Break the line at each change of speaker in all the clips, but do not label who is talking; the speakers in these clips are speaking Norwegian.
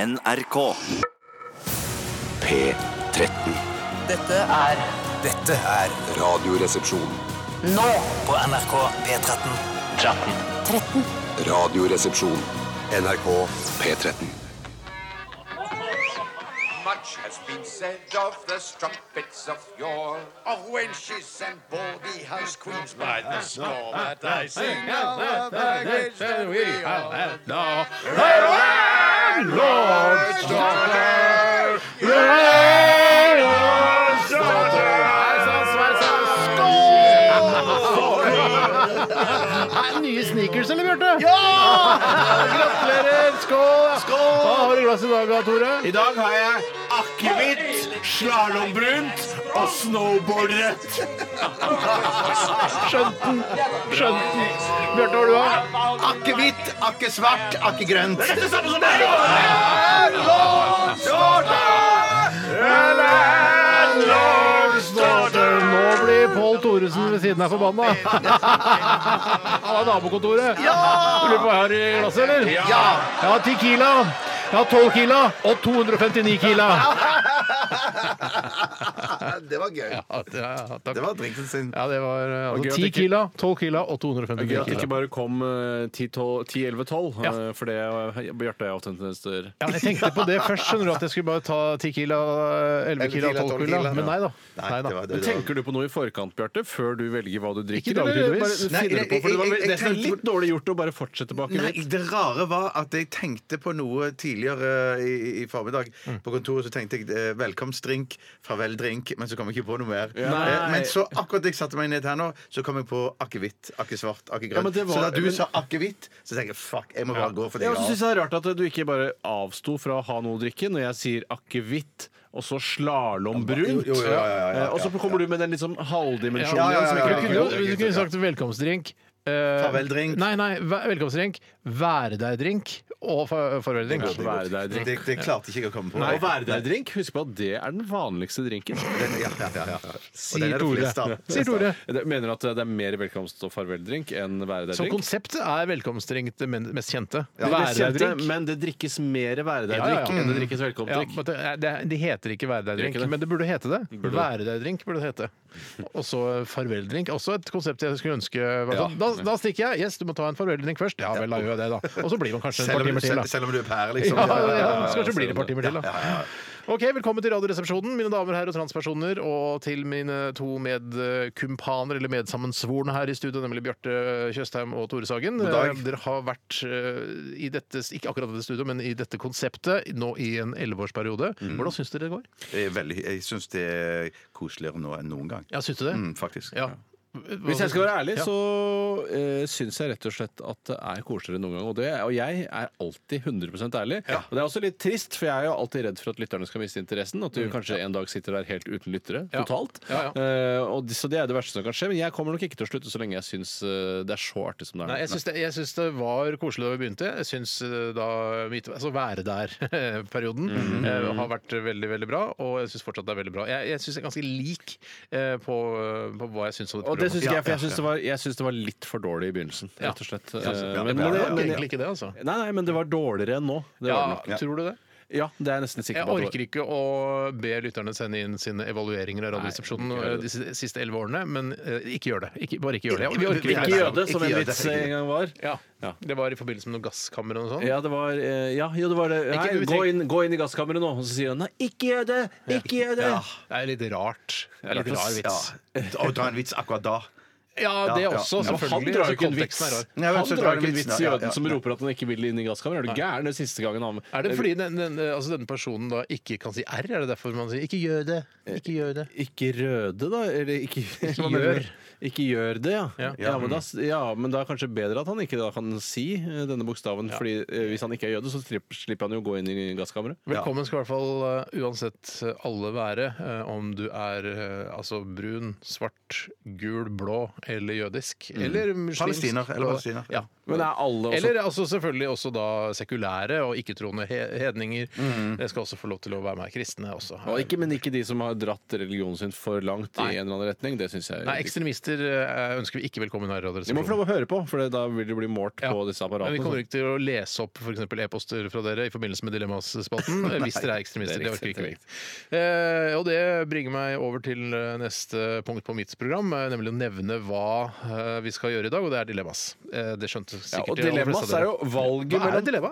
NRK.
P13.
Dette er
Dette er
Radioresepsjon.
nå
på NRK P13.
Radioresepsjon. NRK P13.
Much has been said of the strumpets of yore, of wenches and baldy house queens by the score. But I sing of the baggage that we all have now. The landlord's daughter, the landlord's
Er det nye sneakers, eller, Bjarte? Ja! Gratulerer! Skål! Skål! Hva har du i glasset i dag, da, Tore?
I dag har jeg akevitt, slalåmbrunt og snowboardrett.
Skjønt den. Skjønt den. Bjarte, hva har du av?
Akevitt, akesvart, akegrønt. Det er det samme som
Nå blir Pål Thoresen ved siden av forbanna. Han har nabokontoret. Ja! Du lurer på hva jeg har i glasset, eller? Ja! Jeg har 10 kilo. Jeg har 12 kilo og 259 kilo.
Det var gøy.
Ja, ja, takk.
Det var drinksen sin.
Ja, det var eh,
gøy at
altså, 10
ikke-
kilo, 12 kilo og 259
Gøy at det ikke
kilo.
bare kom eh, 10, 12, 10 11, 12,
Ja.
eh, for det eh, Bjarte og jeg ofte en tendens til å gjøre.
Ja, jeg tenkte på det først, skjønner du, at jeg skulle bare ta 10 kilo, 11 kilo, 12 kilo. Men nei da. Nei da.
Men Tenker du på noe i forkant, Bjarte, før du velger hva du drikker?
Ikke
eller bare
nødvendigvis.
finner
Nei,
du på, for det var
jeg- jeg-
vel-
jeg
det er
tenker
litt dårlig gjort å bare fortsette bak
Nei, det rare var at jeg tenkte på noe tidligere eh, i, i formiddag.
Mm.
På kontoret så tenkte jeg eh, velkomstdrink, farveldrink, men så kom jeg ikke på noe mer. Eh, Men så akkurat jeg satte meg ned her nå, så kom jeg på akevitt, akesvart,
Ja,
akegrønt.
men det var-
så da du
men-
sa akevitt, så tenkte jeg fuck, jeg må bare gå for det.
Jeg
jeg
også
har.
synes det er rart at du ikke bare avsto fra å ha noe å drikke når jeg sier akevitt. Og så
Jo,
slalåmbrunt.
jo, jo, ja, ja, ja, ja,
Eh, Og så kommer du med den liksom halvdimensjonen.
Ja, ja, ja,
som
ja,
ikke
Du
ja,
er
kunne,
ja,
akevitt.
ja.
du kunne sagt velkomstdrink. eh,
Farveldrink.
Nei, nei, ve- velkomstdrink. Være deg-drink og fa- farveldrink.
Det er godt.
Være deg drink.
Det, det klarte ikke jeg å komme på.
Og være deg drink, husk på at det er den vanligste drinken.
Ja, ja, ja, ja. Og den
Sier
er det
Tore.
flest av.
Sier Tore.
Jeg mener at det er mer velkomst- og farveldrink enn være deg
Som
drink.
konseptet er velkomstdrink det men- mest kjente.
Ja,
Være deg-drink.
Men det drikkes mer væredegdrikk
Ja, ja, ja.
enn det drikkes
Ja,
velkomstdrikk.
men det, er- det, er- de heter ikke være
Gjør
deg-drink,
ikke det.
men det burde hete det.
det.
Være deg-drink burde det hete. Og så eh, farveldrink. Også et konsept jeg skulle ønske var
Ja.
sånn. Da, da stikker jeg. Yes, du må ta en farveldrink først. Ja vel, da gjør jeg det, da. Og så blir man kanskje et
Selv
par
om,
timer til, da.
selv, selv om du er pære, liksom.
Ja, ja, ja. Så kanskje blir det et par timer til, da.
Ja, ja, ja.
Ok, Velkommen til Radioresepsjonen, mine damer og herrer og transpersoner, og til mine to medkumpaner, eller medsammensvorne her i studio, nemlig Bjarte Tjøstheim og Tore Sagen.
God dag.
Eh, Dere har vært eh, i dette, ikke akkurat dette studioet, men i dette konseptet nå i en elleveårsperiode. Hvordan syns dere det går?
Jeg, er veldig, jeg syns det er koseligere nå enn noen gang.
Ja, syns du det?
Mm, faktisk.
Ja.
Hvis jeg skal være ærlig,
Ja.
så uh, syns jeg rett og slett at det er koseligere noen gang. Og, det, og jeg er alltid 100 ærlig. Og det er også litt trist, for jeg er jo alltid redd for at lytterne skal miste interessen. At vi kanskje en dag sitter der helt uten lyttere
Ja.
totalt.
Ja, ja.
Eh, og, det- så det er det verste som kan skje. Men jeg kommer nok ikke til å slutte så lenge jeg syns eh, det er så artig som det er.
Nei, jeg syns det, jeg syns det var koselig da vi begynte. Jeg syns eh, da mitt, altså være der-perioden
Mhm.
eh, har vært veldig veldig bra, og jeg syns fortsatt det er veldig bra. Jeg, jeg syns jeg er ganske lik eh, på, på hva jeg syns om dette
og det syns
programmet.
ikke jeg, for jeg syns det, var- jeg syns det var litt for dårlig i begynnelsen, rett og slett. Eh,
ja,
men-
det var
men-
nok
men-
egentlig ikke det, altså.
Nei, nei, men det var dårligere enn nå. Det var det
Ja,
nok.
tror du det?
ja, det er jeg nesten sikker
Jeg
på. at det var.
orker ikke å be lytterne sende inn sine evalueringer av Radioresepsjonen
ikke gjør
eh, de si- siste elleve årene, men eh, ikke gjør det. Ikke, bare ikke gjør det. Vi orker
Ikke
ikke.
jøde, som
Ikke
en
jøde.
vits en gang var.
Ja.
Ja.
Det var i forbindelse med noe gasskammer og noe sånt.
Ja, det var, eh, ja, jo, det var det.
Ikke
Nei,
du
gå,
tenk-
inn, gå inn i gasskammeret nå. Og så sier han nei, ikke gjør det! Ikke gjør det!
Det er litt rart. Det er litt
Rart,
rar vits.
Ja. Å dra en vits akkurat da.
Ja, det
Ja, ja. Ja,
også,
Men han
selvfølgelig.
drar
Altså,
jo ikke en vits.
konteksten er rar.
Nei, men
Han
så drar
drar
han
ikke en
vitsen,
vits
ja,
i
ja,
jøden som
ja.
roper at han ikke vil inn i gasskammeret. Er du gæren? Det er siste gangen han
Er det fordi den, den, altså denne personen da ikke kan si R? Er det derfor man sier 'ikke gjør det'? Ikke gjør det.
Ikke røde, da? Eller ikke, Hva mener
gjør.
du? Ikke gjør det, ja. Ja.
Ja.
men da, ja. Men da er det kanskje bedre at han ikke da kan si eh, denne bokstaven. Fordi eh, hvis han ikke er jøde, så tripp- slipper han jo å gå inn i gasskammeret.
Velkommen skal i hvert fall uh, uansett uh, eh, alle være, uh, om du er uh, altså brun, svart, gul, blå eller jødisk. Eller muslimsk.
Palestiner, eller palestiner.
Ja.
Men er alle også
Eller altså selvfølgelig også da sekulære og ikke-troende he hedninger. Det skal også få lov til å være med kristne også.
og ikke, Men ikke de som har dratt religionen sin for langt i en eller annen retning. Det syns jeg
Nei, ekstremister eh, ønsker vi ikke velkommen her. i
De må
Radioresepsjonen.
få lov å høre på, for da vil de bli målt
Ja.
på disse
Men vi
apparatene.
kommer ikke til å lese opp for eksempel e-poster fra dere i forbindelse med Dilemmas-spalten eh, hvis dere er ekstremister.
det
Det
er
orker
riktig,
vi ikke.
det
Eh, og det bringer meg over til eh, neste punkt på mitt program, eh, nemlig å nevne hva eh, vi skal gjøre i dag, og det er Dilemmas. Eh, det skjønte
Ja,
sikkert
og
de aller
dilemmas
fleste av
er
dere.
jo valget
Hva er et dilemma?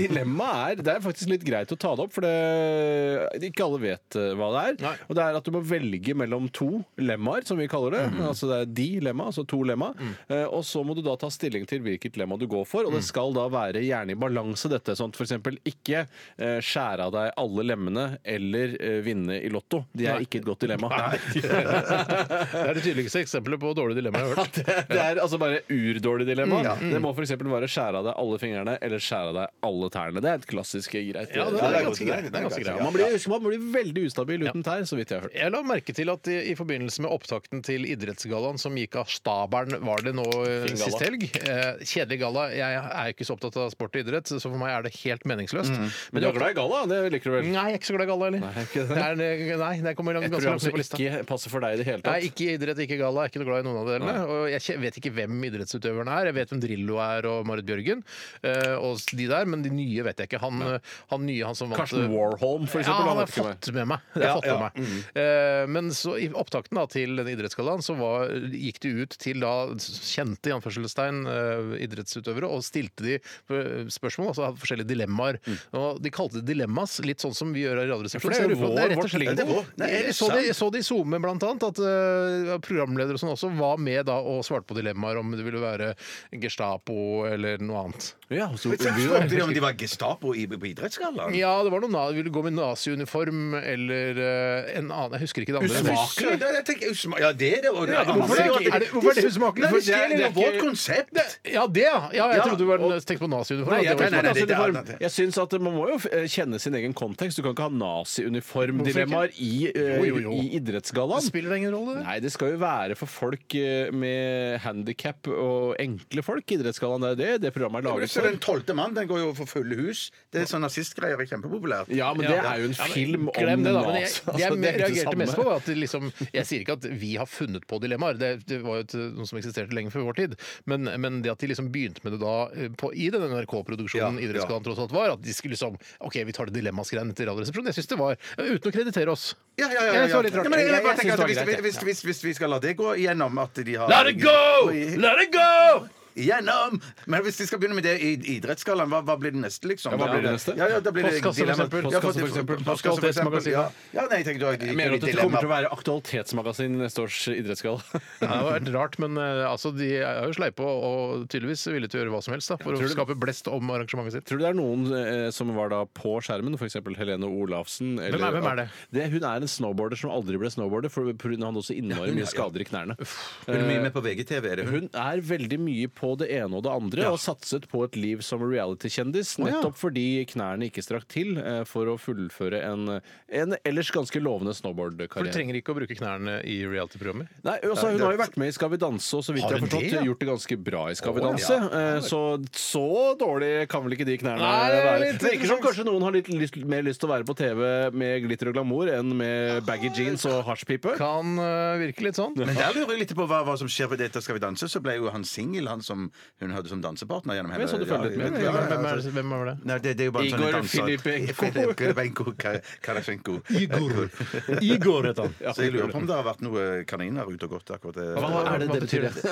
dilemma er Det er faktisk litt greit å ta det opp, for det, ikke alle vet eh, hva det er.
Nei.
Og det er at du må velge mellom to lemmaer, som vi kaller det.
Mhm.
Altså det er de lemma, altså to lemma. Eh, og så må du da ta stilling til hvilket lemma du går for, og det
Mhm.
skal da være gjerne i balanse, dette. Sånn at for eksempel ikke eh, skjære av deg alle lemmene eller eh, vinne i Lotto. De er ikke et godt dilemma.
Det er det tydeligste eksempelet på dårlige dilemmaer jeg har hørt.
Det er altså bare urdårlig dilemma. Det må f.eks. være skjære av deg alle fingrene eller skjære av deg alle tærne. Det er et klassisk greit.
Ja, det er ganske greit. Det er ganske greit.
Man blir, husk, man blir veldig ustabil uten tær, så vidt jeg har hørt.
Jeg la merke til at i, i forbindelse med opptakten til idrettsgallaen som gikk av stabelen, var det nå eh,
Fin galla.
sist helg. Eh, kjedelig galla. Jeg er jo ikke så opptatt av sport og idrett, så for meg er det helt meningsløst. Men
Men du
det
er glad i galla, det liker du vel?
Nei, jeg er ikke så glad i galla heller.
er ikke det.
Det er, eh, nei, det kommer langt-
Et
ganske
program
langt ned
som
på lista.
altså ikke passer for deg i det
Nei,
hele tatt.
ikke idrett, ikke galla. Jeg er ikke noe glad i noen av delene. Og jeg kje- vet ikke hvem idrettsutøverne er. Jeg vet hvem Drillo er og Marit Bjørgen eh, og de der, men de nye vet jeg ikke. Han, eh, han nye, han som vant eh,
Karsten Warholm, for eksempel.
ja, han
han
har
vet ikke
fått med meg. Det har jeg
Ja, Mm.
fått med meg. Eh, men så i opptakten da, til den idrettsgallaen så var, gikk de ut til da kjente i anførselstegn eh, idrettsutøvere og stilte de eh, spørsmål, altså hadde forskjellige dilemmaer. Og de kalte det dilemmas, litt sånn som vi gjør her i
Mm. for
Radioresepsjonen.
det
Så jeg
er jo
lurer på om det er
vår-
rett og slett-
vårt
liv. Ja, det er vår. Nei, er det
Jeg så det-
sant?
jeg så det i SoMe blant annet, at eh, programledere og sånn også var med da og svarte på dilemmaer om det ville være Gestapo eller noe annet.
Ja, så,
Men så spurte de om de var Gestapo i, på idrettsgallaen.
Ja, det var noe na- Ville gå med naziuniform eller eh, en annen Jeg husker ikke det andre.
Usmakelig? Ja, jeg tenker usma- Ja, det er det. og det-
hvorfor er det- er det- hvorfor er det usmakelig?
Nei,
For
Det er- det er vårt konsept.
Ja, det, ja! ja jeg
Ja,
trodde du var
og-
tenkte på naziuniform.
Nei,
at
jeg,
det var
nei, nei, det-
ikke-
det-
naziuniform.
det- det-
jeg syns at man må jo eh, kjenne sin egen kontekst. Du kan ikke ha naziuniformdilemmaer i, eh,
Jo, jo, jo.
i idrettsgallaen.
Spiller det ingen rolle? det?
Nei, det skal jo være for folk eh, med handikap og enkle folk. Idrettsgallaen det er det det programmet er laget
Så Den
for.
tolvte mann den går jo for fulle hus. Det er sånn nazistgreier er kjempepopulært.
Ja, men det er jo en
Ja, men
film
glem
om
det, da. Men jeg,
nas.
det jeg
Altså, det er ikke det
reagerte mest på,
samme.
var at det liksom Jeg sier ikke at vi har funnet på dilemmaer, det, det var jo et, noe som eksisterte lenge før vår tid, men, men det at de liksom begynte med det da eh, på, i den
Ja,
NRK-produksjonen Idrettsgallaen tross alt var, at de skulle liksom OK, vi tar det dilemmasgreiene til Radioresepsjonen. Jeg syns det var eh, Uten å kreditere oss.
Ja, ja, ja, ja,
Jeg
ja.
så litt rart.
Ja, men jeg- jeg
Jeg-
bare
jeg
tenker
synes
at
det var
hvis-
greit,
hvis- hvis- Hvis vi skal la det gå gjennom at de har
Let it go! Let it go!
Gjennom! Men hvis de skal begynne med det i idrettsgallaen, hva, hva blir det neste, liksom?
Ja, hva blir det neste?
Ja, ja, da blir det
Postkasse, for
dilemma.
eksempel.
Ja, for-
Postkasse, for eksempel.
Postkasse, for eksempel. Ja, Ja, nei, jeg tenker du har ikke
Jeg mener at det kommer til å være Aktualitetsmagasin neste års idrettsgalla.
Ja, det har vært rart, men eh, altså, de er jo sleipe og, og tydeligvis villige til å gjøre hva som helst da, for å skape blest om arrangementet sitt.
Tror du det er noen eh, som var da på skjermen, f.eks. Helene Olafsen? Eller,
Hvem er- hvem er det?
Hun er en snowboarder som aldri ble snowboarder, for for hun hadde også innmari mye skader i knærne.
Hun er mye med på VGTV, er det hun?
Hun er veldig mye på det ene og det andre, og satset på et liv som reality-kjendis, nettopp fordi knærne ikke strakk til eh, for å fullføre en, en ellers ganske lovende
For du
snowboard-karriere.
trenger ikke å bruke knærne i reality-programmer.
Nei, altså, Hun har jo vært med i Skal vi danse, og så vidt
Har
jeg har
hun
forstått,
det, ja?
gjort det ganske bra i Skal vi danse. Eh, Så så dårlig kan vel ikke de knærne
Nei, det er
være.
litt
Det virker som kanskje noen har litt lyst, mer lyst til å være på TV med glitter og glamour enn med baggy jeans og hasjpipe.
Kan eh, virke litt sånn.
Men der lurer jeg litt på hva, hva som skjer på dette Skal vi danse. Så ble jo han singel, han som hun hadde som dansepartner gjennom hele
Men så du
ja,
følger litt med,
vet du
Hvem
hva?
er, hvem er, det- hvem er det?
Nei, det, det er jo bare en
Igor
sånn danser.
Filipenko.
Filipenko Kar- Karasjenko.
Igor. Igor heter han.
Så jeg lurer på om det har vært noe kaniner ute og gått akkurat det.
Hva er det
Hva
det
betyr
betyr?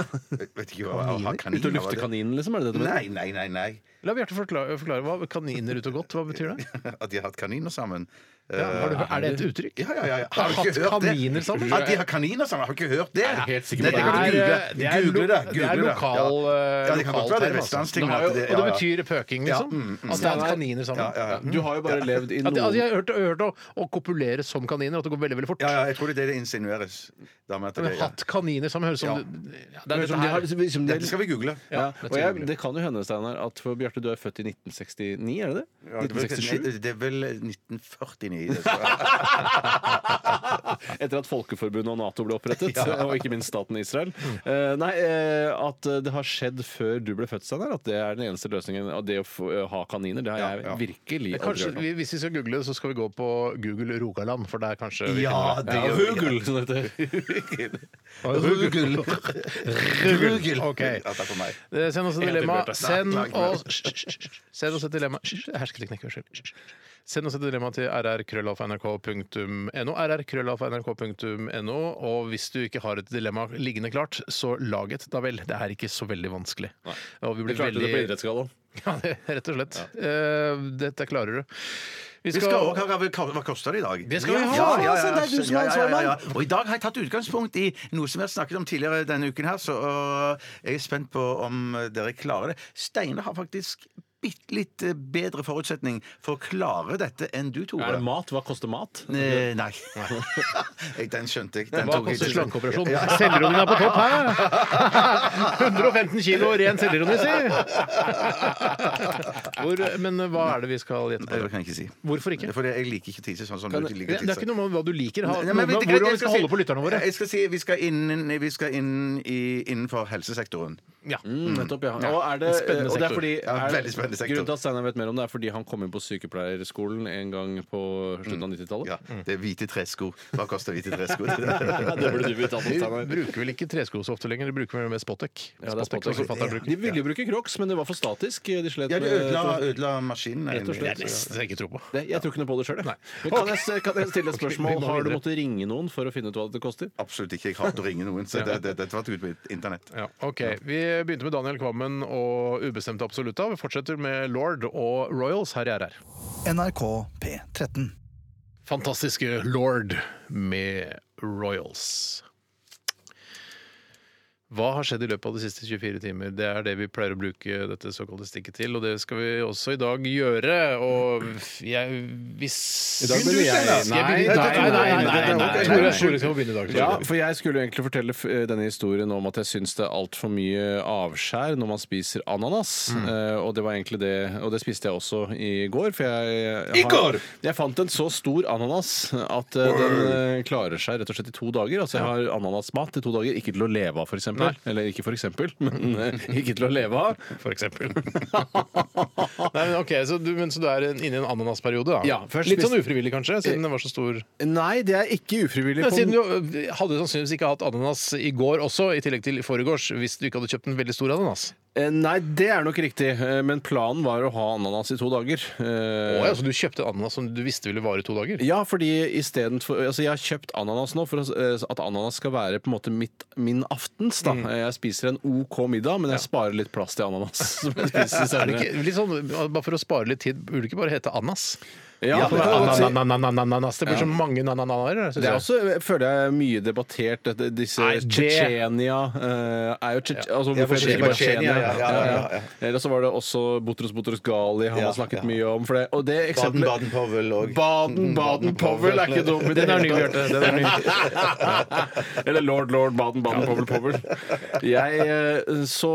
Jeg Vet ikke hva å ha kaniner
Ut og
var
lufte
det-
kaninen, liksom? Er det det det betyr?
Nei, nei, nei. nei
La Bjarte forklare, forklare hva kaniner ute og godt, hva betyr det?
At de har hatt kaniner sammen. Eh,
Ja, har du, er det et uttrykk?
Ja, ja, ja, ja.
Har
du ikke
hatt
hørt det?
kaniner sammen?
At de har kaniner sammen? Har du ikke hørt det?
Er du helt sikker på
Nei, kan du
Det
det?
er, eh,
google.
det er,
Google det.
lo- det
Google
er lokal eh,
Ja, det kan godt være det er
lokalterm, altså.
vestlandsting,
Det har jo-
at det-
Og det
ja, ja.
betyr pøking,
Ja,
liksom?
mm, mm.
At det er kaniner
Ja,
sammen?
ja, ja.
Du har jo bare levd i
At, at
noen
jeg har hørt, hørt å, å kopulere som kaniner, at det går veldig veldig fort.
Ja, ja, jeg tror det er det det insinueres. Da med at
Men
det, ja.
hatt kaniner som høres ut som ja, det, er dette
Høres som de
her.
har- liksom- som de-
Dette skal vi google.
Ja,
dette
og jeg,
skal vi-
det kan jo hende, Steinar, at for Bjarte, du er født i 1969, er det det?
Ja, det, er vel-
1967?
det er vel 1949. Det tror jeg.
etter at Folkeforbundet og Nato ble opprettet, og ikke minst staten Israel. Eh, nei, eh, at det har skjedd før du ble født, Steinar. At det er den eneste løsningen. Og det å få, eh, ha kaniner, det har jeg virkelig aldri
Kanskje,
hørt om.
vi- hvis vi skal google det, så skal vi gå på Google Rogaland, for der kanskje vi
Ja,
finner
det
Ja,
gjør vi.
Hugel, som det heter.
Rugel. Rugel.
Ok.
Ja, takk for meg.
Eh, Send oss et
En til,
dilemma.
Bjarte.
Send
Nei, nei,
oss Hysj, hysj, hysj. Send oss et dilemma Hysj, Hersketeknikk, unnskyld. Hysj, hysj. Send oss et dilemma til rrkrøllalfa.nrk.no. rrkrøllalfa.nrk.no. Og hvis du ikke har et dilemma liggende klart, så lag et, da vel. Det er ikke så veldig vanskelig. Og vi
Vi
blir
klarte det på
veldig
idrettsgallaen.
ja, det- Rett og slett. Eh, Dette klarer du.
Vi skal også ha Hva koster det i dag?
Det skal vi ha!
Ja, ja, ja,
så det er du som er
ja, ja, ja, ja.
ansvarlig.
Og i dag har jeg tatt utgangspunkt i noe som jeg har snakket om tidligere denne uken her, så øh, jeg er spent på om dere klarer det. Steinar har faktisk bitte litt eh, bedre forutsetning for å klare dette enn du, Tore.
Er det mat? Hva koster mat?
Eh, Nei. Jeg- Den skjønte jeg. Den
Hva
tok jeg til
koster
slutt.
slankeoperasjon? Selvironien er på topp her! 115 kilo ren selvironi, si! Hvor, men hva er det vi skal gjette
Nei,
på?
Det kan jeg ikke si.
Hvorfor ikke?
Fordi jeg liker ikke tise sånn som du
Det
liker
det er
tise.
ikke noe med hva du liker. Ha,
Nei,
noe
men
med
vet du hva,
hvordan
jeg
vi skal
si-
holde på lytterne våre.
Jeg skal si vi skal inn, vi skal inn i, innenfor helsesektoren.
Ja.
Mm, nettopp, ja. Og, er det,
Spennende
og det er
sektor.
fordi,
Ja,
er,
veldig spennende sektor.
Grunnen til at Steinar vet mer om det, er fordi han kom inn på sykepleierskolen en gang på slutten av 90-tallet.
Ja, det er hvite tresko. Hva koster hvite tresko?
det burde du vite alt om,
Vi
Steinar.
bruker vel ikke tresko så ofte lenger, de bruker vel mer Spotek.
Ja, det er altså.
Spotek, som
Spotek.
forfatteren bruker.
De ville jo bruke Crocs, men det var for statisk. De slet
Ja, du
med-
ødela, ødela maskinen.
Rett og
Det
slett.
er nesten jeg ikke tror på.
Det, jeg tror ikke noe på det sjøl. Kan, jeg- kan jeg stille et
Vi
spørsmål?
må
Har du
videre.
måttet ringe noen for å finne ut hva det koster?
Absolutt ikke. Jeg hater å ringe noen. Så det, det, dette var ut på internett.
Ja, ok. Vi begynte med Daniel Kvammen og Ubestemte absolutta. Vi fortsetter med Lord og Royals her i RR.
NRK P13.
Fantastiske Lord med Royals. Hva har skjedd i løpet av de siste 24 timer? Det er det vi pleier å bruke dette såkalte stikket til, og det skal vi også i dag gjøre. Og jeg hvis
I dag
Vil du
begynner jeg.
selv, da? Skal jeg begynne?
Nei,
nei,
nei,
nei,
nei,
nei,
nei.
Tore, Tore skal få begynne i dag.
Ja, for jeg skulle jo egentlig fortelle f- eh, denne historien om at jeg syns det er altfor mye avskjær når man spiser ananas. Eh, og det var egentlig det Og det spiste jeg også i går. For jeg, I går! Jeg fant en så stor ananas at eh, den eh, klarer seg rett og slett i to dager. Altså jeg har ananasmat i to dager. Ikke til å leve av, f.eks. Eller ikke for eksempel, men eh, ikke til å leve av.
for eksempel. nei, men, ok, så du, men, så du er en- inne i en ananasperiode, da?
Ja, først
Litt sånn
spiste-
ufrivillig, kanskje, siden den var så stor?
Nei, det er ikke ufrivillig.
Ja,
på-
siden du ø, hadde sannsynligvis ikke hatt ananas i går også, i tillegg til i forgårs, hvis du ikke hadde kjøpt en veldig stor ananas.
Eh, Nei, det er nok riktig. Eh, Men planen var å ha ananas i to dager. Eh,
Å ja, så du kjøpte ananas som du visste ville vare i to dager?
Ja, fordi istedenfor Altså, jeg har kjøpt ananas nå for å s- eh, at ananas skal være på en måte mitt, min aftens, da. Eh, Jeg spiser en OK middag, men jeg sparer litt plass til ananas. som jeg
Er
spiser
det
senere.
ikke, litt sånn, bare for å spare litt tid, burde det ikke bare hete Annas?
Ja, det, kan godt si.
Anananas. Det blir så mange nanananer.
det er også, jeg føler jeg, mye debattert dette, disse
Nei, det-
Tsjetsjenia eh, er jo Tsje- altså, hvorfor heter det ikke bare
Tsjetsjenia,
Tsjetsjenia?
ja, ja, ja, ja.
Eller så var det også Botros Botros Gali, han
Ja,
har
ja.
snakket mye om. For det, og det eksempelet
Baden-Baden-Powell og
Baden, Baden, Powell er ikke dum. i det
Den er ny,
hele tatt.
Bjarte. Den er ny.
Eller Lord, Lord, Baden, Baden, Powell, Powell. Jeg, eh, så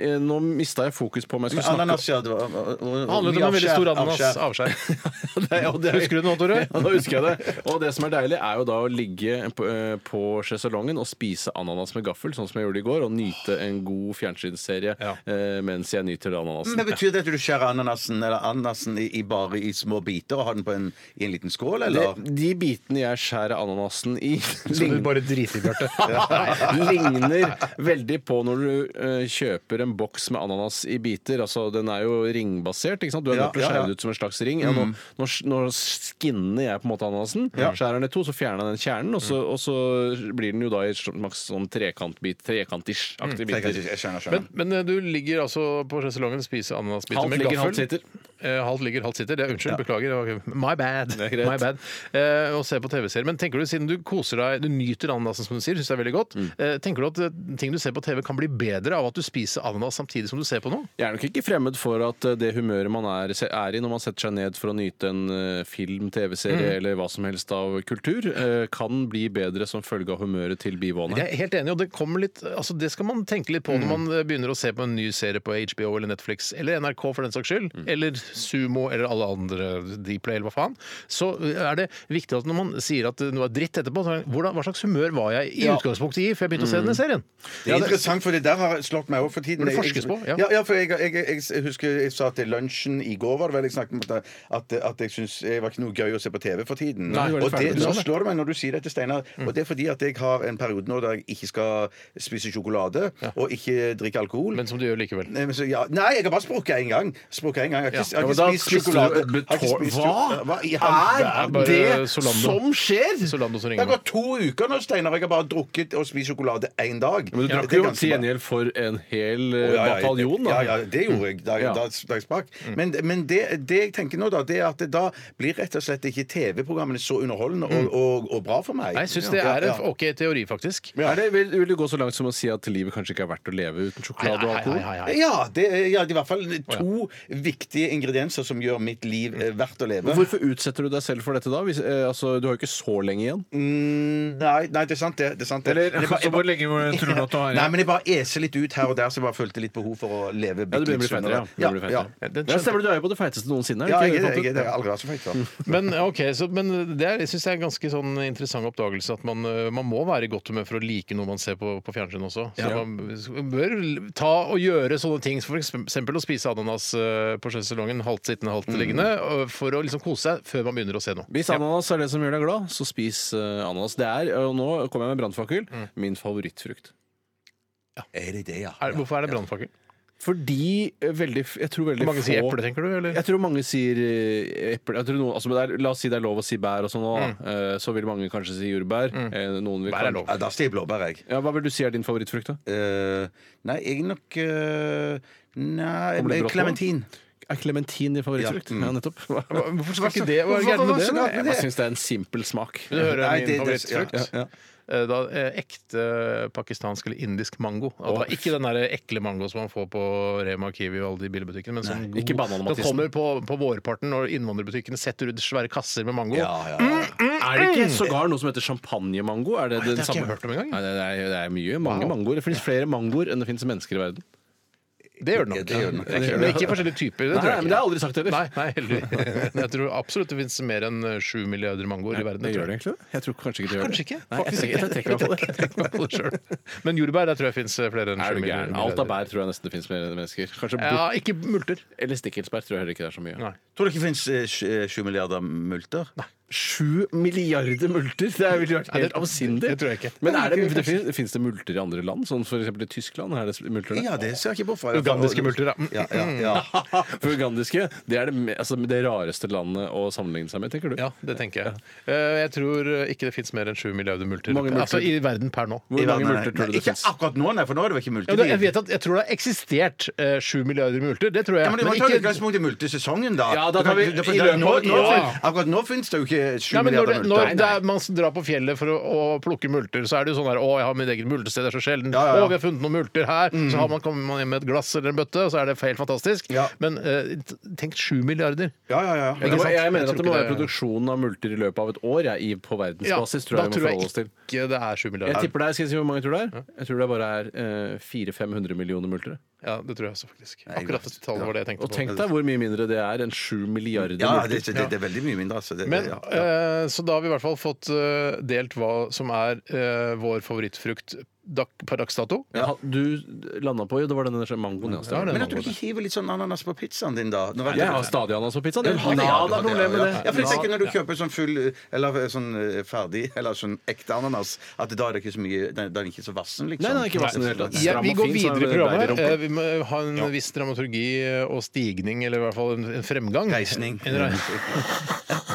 eh, Nå mista jeg fokus på om jeg skulle snakke
Ananas, ja. Det var- og- og-
Det handlet om en veldig
avskjær,
stor ananas.
avskjær.
Avskjær.
Nei, og det-
Husker du det nå, Tore?
Ja, da husker jeg det. Og det som er deilig, er jo da å ligge på, eh, på sjeselongen og spise ananas med gaffel, sånn som jeg gjorde i går, og nyte en god fjernsynsserie
Ja.
eh, mens jeg nyter ananasen.
Men Betyr det at du skjærer ananasen eller ananasen i, i bare i små biter og har den på en, i en liten skål, eller?
Det, de bitene jeg skjærer ananasen i,
Som du bare driter i, Bjarte.
ligner veldig på når du eh, kjøper en boks med ananas i biter. Altså, den er jo ringbasert. ikke sant? Du er
Ja,
nødt til å
ja, Mm.
skjære
ja.
det ut som en slags ring. Ja, nå, nå, nå skinner jeg på en måte ananasen, skjærer den i to, så fjerner jeg den kjernen, og så, og så blir den jo da i sl- maks sånn trekantbit, trekantish-aktig
Jeg
biter.
skjønner, skjønner.
Men, men eh, du ligger altså på sjeselongen og spiser ananasbiter
Halvt
med
ligger,
gaffel.
halvt sitter.
Eh, halvt ligger, halvt sitter. Det er, unnskyld, beklager. det var- My bad.
er greit.
My bad. Eh, og ser på TV-serier. Men tenker du, siden du koser deg, du nyter ananasen som du sier, syns det er veldig godt, eh, tenker du at eh, ting du ser på TV kan bli bedre av at du spiser ananas samtidig som du ser på noe?
Jeg er nok ikke fremmed for at eh, det humøret man er, er i når man setter seg ned for å nyte en eh, film, TV-serie
Mm.
eller hva som helst av kultur, eh, kan bli bedre som følge av humøret til bivåene.
Jeg er helt enig, og det kommer litt altså Det skal man tenke litt på når man eh, begynner å se på en ny serie på HBO eller Netflix, eller NRK for den saks skyld, eller Sumo eller alle andre Dplay eller hva faen, så eh, er det viktig at når man sier at noe er dritt etterpå, så er det, hvordan, hva slags humør var jeg i utgangspunktet i før jeg begynte å se denne serien?
Det er interessant, for det der har slått meg over for tiden.
Men det
Jeg-
forskes på, ja.
ja. for jeg, jeg, jeg, jeg husker jeg sa til lunsjen i går var det vel jeg snakket om at, at, at jeg syns det var ikke noe gøy å se på TV for tiden.
Nei, du er
og
ferdig
det,
med
nå
det.
slår det meg når du sier dette, Steinar.
Mm.
Og det er fordi at jeg har en periode nå der jeg ikke skal spise sjokolade og ikke drikke alkohol.
Men som du gjør likevel.
Nei, men så, ja. Nei, jeg har bare sprukket en gang. Sprukket en gang. Jeg har ikke, jeg
Ja,
har
men
ikke
da
spist
spiste du
sjokolade.
et betå-
Har ikke spist
Hva?
jo- Hva i all
Det er
verden?
bare
det
Solando.
som skjer?!
Solando som
Det har
ringer nå.
gått to uker nå, Steinar. Jeg har bare drukket og spist sjokolade én dag.
Men du
Ja,
drakk
det er
jo
ganske
til
bra.
gjengjeld for en hel eh,
Ja, ja, ja.
bataljon, da.
Ja, ja, det gjorde jeg. Da,
Ja.
da, da jeg sprakk. Men, men det, det jeg tenker nå, da, det er at det da blir rett og slett ikke TV-programmene så underholdende
Mm.
og, og, og bra for meg.
Nei, jeg syns det
Ja,
er en
ja.
OK teori, faktisk.
Er det, vil, vil du gå så langt som å si at livet kanskje ikke er verdt å leve uten sjokolade og alkohol?
Ja, det er ja, det er i hvert fall to viktige ingredienser som gjør mitt liv eh, verdt å leve.
Mm. Hvorfor utsetter du deg selv for dette da? Hvis, eh, altså, du har jo ikke så lenge igjen.
Mm, nei, nei, det er sant, det. det, er sant, det.
Eller,
Jeg bare- jeg
så hvor lenge må du- tror du at du har igjen?
Nei, men jeg bare eser litt ut her og der, så jeg bare følte litt behov for å leve
Ja, du
bitte
begynner å
litt
bli feitere.
sunnere.
Ja. Du begynner å bli
ja.
feitere.
Ja, den
Ja, stemmer, du er jo på det feiteste noensinne. er
Ja,
du
jeg
ikke
er det. Jeg er det. Jeg
Tante?
har aldri vært så feit. da.
Men ok, så, men det er, jeg synes det er en ganske sånn interessant oppdagelse at man, eh, man må være i godt humør for å like noe man ser på, på fjernsyn også. Så man bør ta og gjøre sånne ting, som f.eks. å spise ananas eh, på sjøsalongen halvt sittende, halvt liggende, og for å liksom kose seg før man begynner å se noe.
Hvis ananas er det som gjør deg glad, så spis eh, ananas. Det er, og nå kommer jeg med brannfakkel,
Mm.
min favorittfrukt.
Er det det, ja?
Er, hvorfor er det brannfakkel?
Fordi eh, veldig, f- jeg tror veldig
Mange
få
sier eple, tenker du? Eller?
Jeg tror mange sier eh, eple. Jeg tror noen, altså, men det er, la oss si det er lov å si bær og sånn òg. Så vil mange kanskje si jordbær. Eh, Noen vil
Mm. Bær er
kanskje-
lov.
Ja, Da sier jeg blåbær, jeg.
Ja, hva vil du si er din favorittfrukt, da?
Eh, nei, jeg er nok eh,
Kommer det
Nei eh,
brått på?
Klementin.
Er klementin din favorittfrukt?
Ja.
Ja, nettopp.
Hva- Hvorfor skal ikke det være
Hvorfor-
gærent med
hvorfor
det?
skal
da?
det-
Jeg bare syns det er en simpel smak.
Vil du høre
Nei, det-
min
det- ja,
favorittfrukt?
ja.
Eh, Da, eh, ekte pakistansk eller indisk mango. Og da, ikke den der ekle mango som man får på Rema Kiwi og alle de billigbutikkene. Men som
ikke banan og
Den
matisen.
kommer på, på vårparten når innvandrerbutikkene setter ut svære kasser med mango.
ja, ja.
Er det ikke sågar noe som heter champagnemango? Er det
det har
den
ikke jeg
samme?
hørt om engang.
Nei, det, er, det er mye. Mange mangoer. Det finnes flere mangoer enn det finnes mennesker i verden.
Det gjør den
Ja,
nok.
det gjør den nok.
Det er ikke- Men ikke forskjellige typer. Det
Nei,
tror jeg
nei, men
ikke.
det har jeg aldri sagt heller.
Nei, nei, heldigvis. Men Jeg tror absolutt det finnes mer enn eh, sju milliarder mangoer i verden.
Det gjør
tror
det
jeg.
egentlig? det? Jeg tror kanskje ikke det gjør
Kanskje
det.
ikke.
Nei, jeg,
Faktisk
trekker- jeg trekker meg på det.
Jeg trekker meg på det selv. Men jordbær der tror jeg fins flere enn
Er
sju
du
milliarder.
gæren? Alt av bær tror jeg nesten det finnes mer enn mennesker. Kanskje bort,
Ja, ikke multer.
Eller stikkelsbær tror jeg heller ikke det er så mye.
Nei.
Tror du ikke det fins eh, sju milliarder multer? Nei.
Sju milliarder multer! Det ville vært
Nei, det-
helt avsindig.
det tror jeg ikke.
Men er det, det finnes, finnes det multer i andre land? Sånn for eksempel i Tyskland? Er det multer der?
Ja, det ser jeg ikke bort fra.
Ugandiske multer, da.
Ja, ja, ja.
For ugandiske, det er det, me- altså, det rareste landet å sammenligne seg med, tenker du?
Ja, det tenker jeg. Eh, Jeg tror ikke det fins mer enn sju milliarder multer.
Mange multer.
Altså i verden per nå.
Hvor
I verden, nei,
mange multer
nei,
tror du det
Ikke
finnes?
akkurat nå, nei, for nå er det vel ikke
Ja,
multer.
det, jeg vet at jeg tror det har eksistert eh, sju milliarder multer. Det tror jeg.
Ja, men Du må
men
ta
ikke-
utgangspunkt i multesesongen, da.
Ja,
Du
da tar
kan-
vi-
du- for
i
det-
løpet
nå,
av-
nå,
ja.
fin- Akkurat nå finnes det jo ikke sju
Nei, men når,
milliarder
det, når
multer.
det er, man drar på fjellet for å, å plukke multer, så er det jo sånn her Å, jeg har mitt eget multested, det er så sjelden.
Ja, ja, ja.
Å, vi har funnet noen multer her.
Mm.
Så har man, kommer man hjem med et glass eller en bøtte, og så er det helt fantastisk.
Ja.
Men eh, t- tenk sju milliarder.
Ja, ja, ja.
Men det
Ikke
må,
sant?
jeg mener
Jeg tror
at det må
ikke
være
det-
produksjonen av multer i løpet av et år jeg, i- på verdensbasis. tror
da
jeg vi må
tror
forholde
jeg
oss til.
ikke det er sju
Jeg
milliarder.
tipper det er, skal jeg si hvor mange tror det er? Jeg tror det bare er eh, 400-500 millioner multer.
Ja, det tror jeg også, faktisk. Akkurat det tallet var det jeg tenkte
Og
på.
tenk deg hvor mye mindre det er enn 7 milliarder
Ja,
multer.
det, det, det er veldig mye mindre. Altså. Det,
Men,
ja.
eh, så da har vi i hvert fall fått eh, delt hva som er eh, vår favorittfrukt dak, per dags dato.
Ja. Du landa på jo, det var denne mangoen. Ja, stemmer.
Men at du ikke hiver litt sånn ananas på pizzaen din, da? Når
jeg har stadig ananas på pizzaen. Jeg
Ja,
har nada problem med
ja,
det.
ja. Ja, for jeg tenker Når du kjøper sånn full eller sånn eh, ferdig eller sånn ekte ananas, at da er det ikke så mye Da er den ikke så vassen, liksom.
Nei, den er ikke vassen i det hele tatt.
Ja,
Stram
vi
og
går
fin,
videre
så
i
er det
programmet.
deilig rumpe.
Eh, Vi må ha en viss dramaturgi eh, og stigning, eller i hvert fall en, en fremgang.
Reisning.
En rei-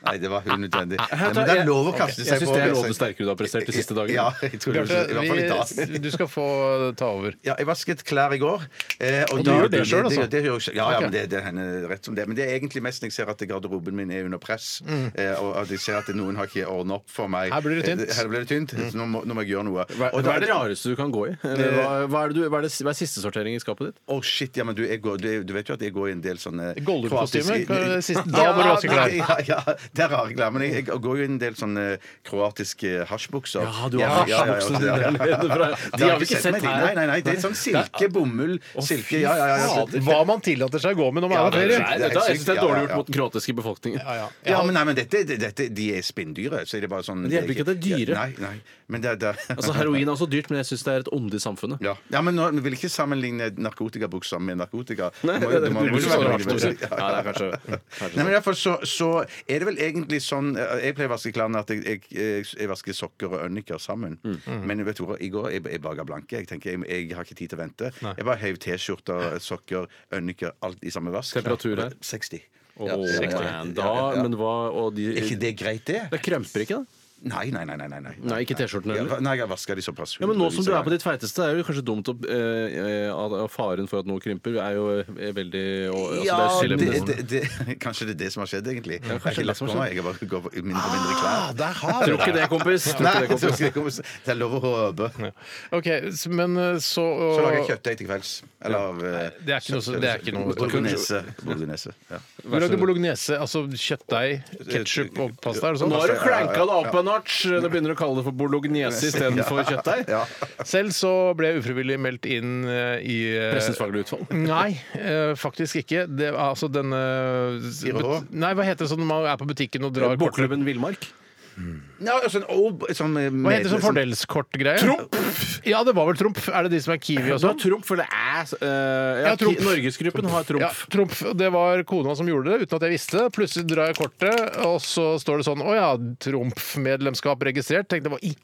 Nei, det var unødvendig. Nei,
tar-
men det
jeg-
er lov å kaste
Jeg
seg
syns
på.
det er lovet sterkere du har prestert de siste dagene.
Ja, jeg tror det. I hvert fall i
Bjarte,
dag.
vi, du skal få eh, ta over.
Ja, jeg vasket klær i går. eh,
Og du
da-
gjør det selv, altså?
Det, det, gjør jeg selv. ja, ja,
Ok.
men det, det hender rett som det. Men det er egentlig mest når jeg ser at garderoben min er under press, eh, og at jeg ser at noen har ikke ordnet opp for meg.
Mm. Her blir det tynt. Mm.
Eh, Her blir det tynt. Så nå, må, nå må jeg gjøre noe.
Hva,
Og
hva
da-
er det rareste du kan gå i? Eller Hva, hva, er, det du, hva, er, det, hva er siste sortering i skapet ditt?
Å, shit, ja, men du, jeg går, du, du vet jo at jeg går i en del sånne
Gollum-kostyme?
kroatiske-
Sist- Da må du vaske klær.
Ja, ja, dette er rare greier, men jeg, jeg går jo i en del sånne kroatiske hasjbukser.
Ja, du har hasjbuksene dine der nede fra-
De har vi ikke sett her. Nei, nei, nei, det er sånn silke, bomull, silke Ja, ja, ja. ja.
Fader, Altså, Hva man tillater seg å gå med når man er på
Nei,
det
ferie!
er helt
dette, jeg
sykt.
syns det er
Ja, ja,
dårlig gjort
ja.
mot den kroatiske befolkningen.
Ja, ja.
Ja, men nei, men dette, dette, De er spinndyre, så er det bare sånn
det hjelper ikke at det er dyre.
Nei, nei, men det er det er-
Altså, Heroin er også dyrt, men jeg syns det er et onde i samfunnet.
ja. ja, men nå, Vi vil ikke sammenligne narkotikabukser med narkotika. Nei,
det- det- det blir så rart, Tore. Ja, det er kanskje- kanskje
Nei, men i hvert fall så, så er det vel egentlig sånn eh, Jeg pleier å vaske klærne at jeg, jeg, jeg, jeg vasker sokker og øniker sammen.
Mm.
Men vet du hva, i går jeg, jeg baga blanke. Jeg tenker, jeg, jeg har ikke tid til å vente. Jeg bare heiv T-skjorter, sokker, øniker, alt i samme vask.
Temperatur her?
60.
Åh, man, da, men hva og de,
Er ikke det greit, det?
Det kremper ikke, da?
Nei, nei, nei. nei, nei, nei.
Nei, ikke T-skjortene
Ja,
heller.
Nei, jeg har vaska de såpass.
Ja, men Nå som du er på
hundrevis av
ditt feiteste, er det jo kanskje dumt å eh, eh, at- at Faren for at noe krymper er jo eh, veldig og, altså,
Ja,
det er jo
det, det,
skille-
det, kanskje det er det som har skjedd, egentlig. jeg har
det er
ikke
det
lagt
som
på
har Ah,
meg. Jeg har bare gått i mindre og mindre
Ja,
klær.
der har
Tror ikke det, kompis. Tror
Nei, jeg tror
ikke det, kompis.
ikke det kommer Det er lov å håpe.
OK, s- men eh, så
Så lager jeg kjøttdeig til kvelds. Eller av eh,
Det er ikke noe så- det er ikke noe-
Bolognese. Bolognese. Ja.
Du lagde bolognese, altså kjøttdeig, ketsjup og pasta? Er det
Nå har du
sånn?
cranka det opp en notch! Nå begynner du å kalle det for bolognese istedenfor kjøttdeig.
Ja.
Selv så ble jeg ufrivillig meldt inn eh, i eh,
Pressens faglige utvalg.
Nei, eh, faktisk ikke. Det, er altså denne
H?
but- Nei, hva heter det sånn når man er på butikken og drar kort?
Båtklubben Villmark.
Nå, sånn, ob- sånn, eh,
Hva
med-
heter det sånn fordelskortgreie? Trump! Ja, det var vel trumf. Er det de som er Kiwi og
Du har
sånn?
trumf, for det er eh, ja,
Ja, trumf.
Ki- Norgesgruppen har
Ja,
trumf.
trumf. Det var kona som gjorde det, uten at jeg visste det. Plutselig drar jeg kortet, og så står det sånn Å ja, Trumf-medlemskap registrert. Tenkte hva i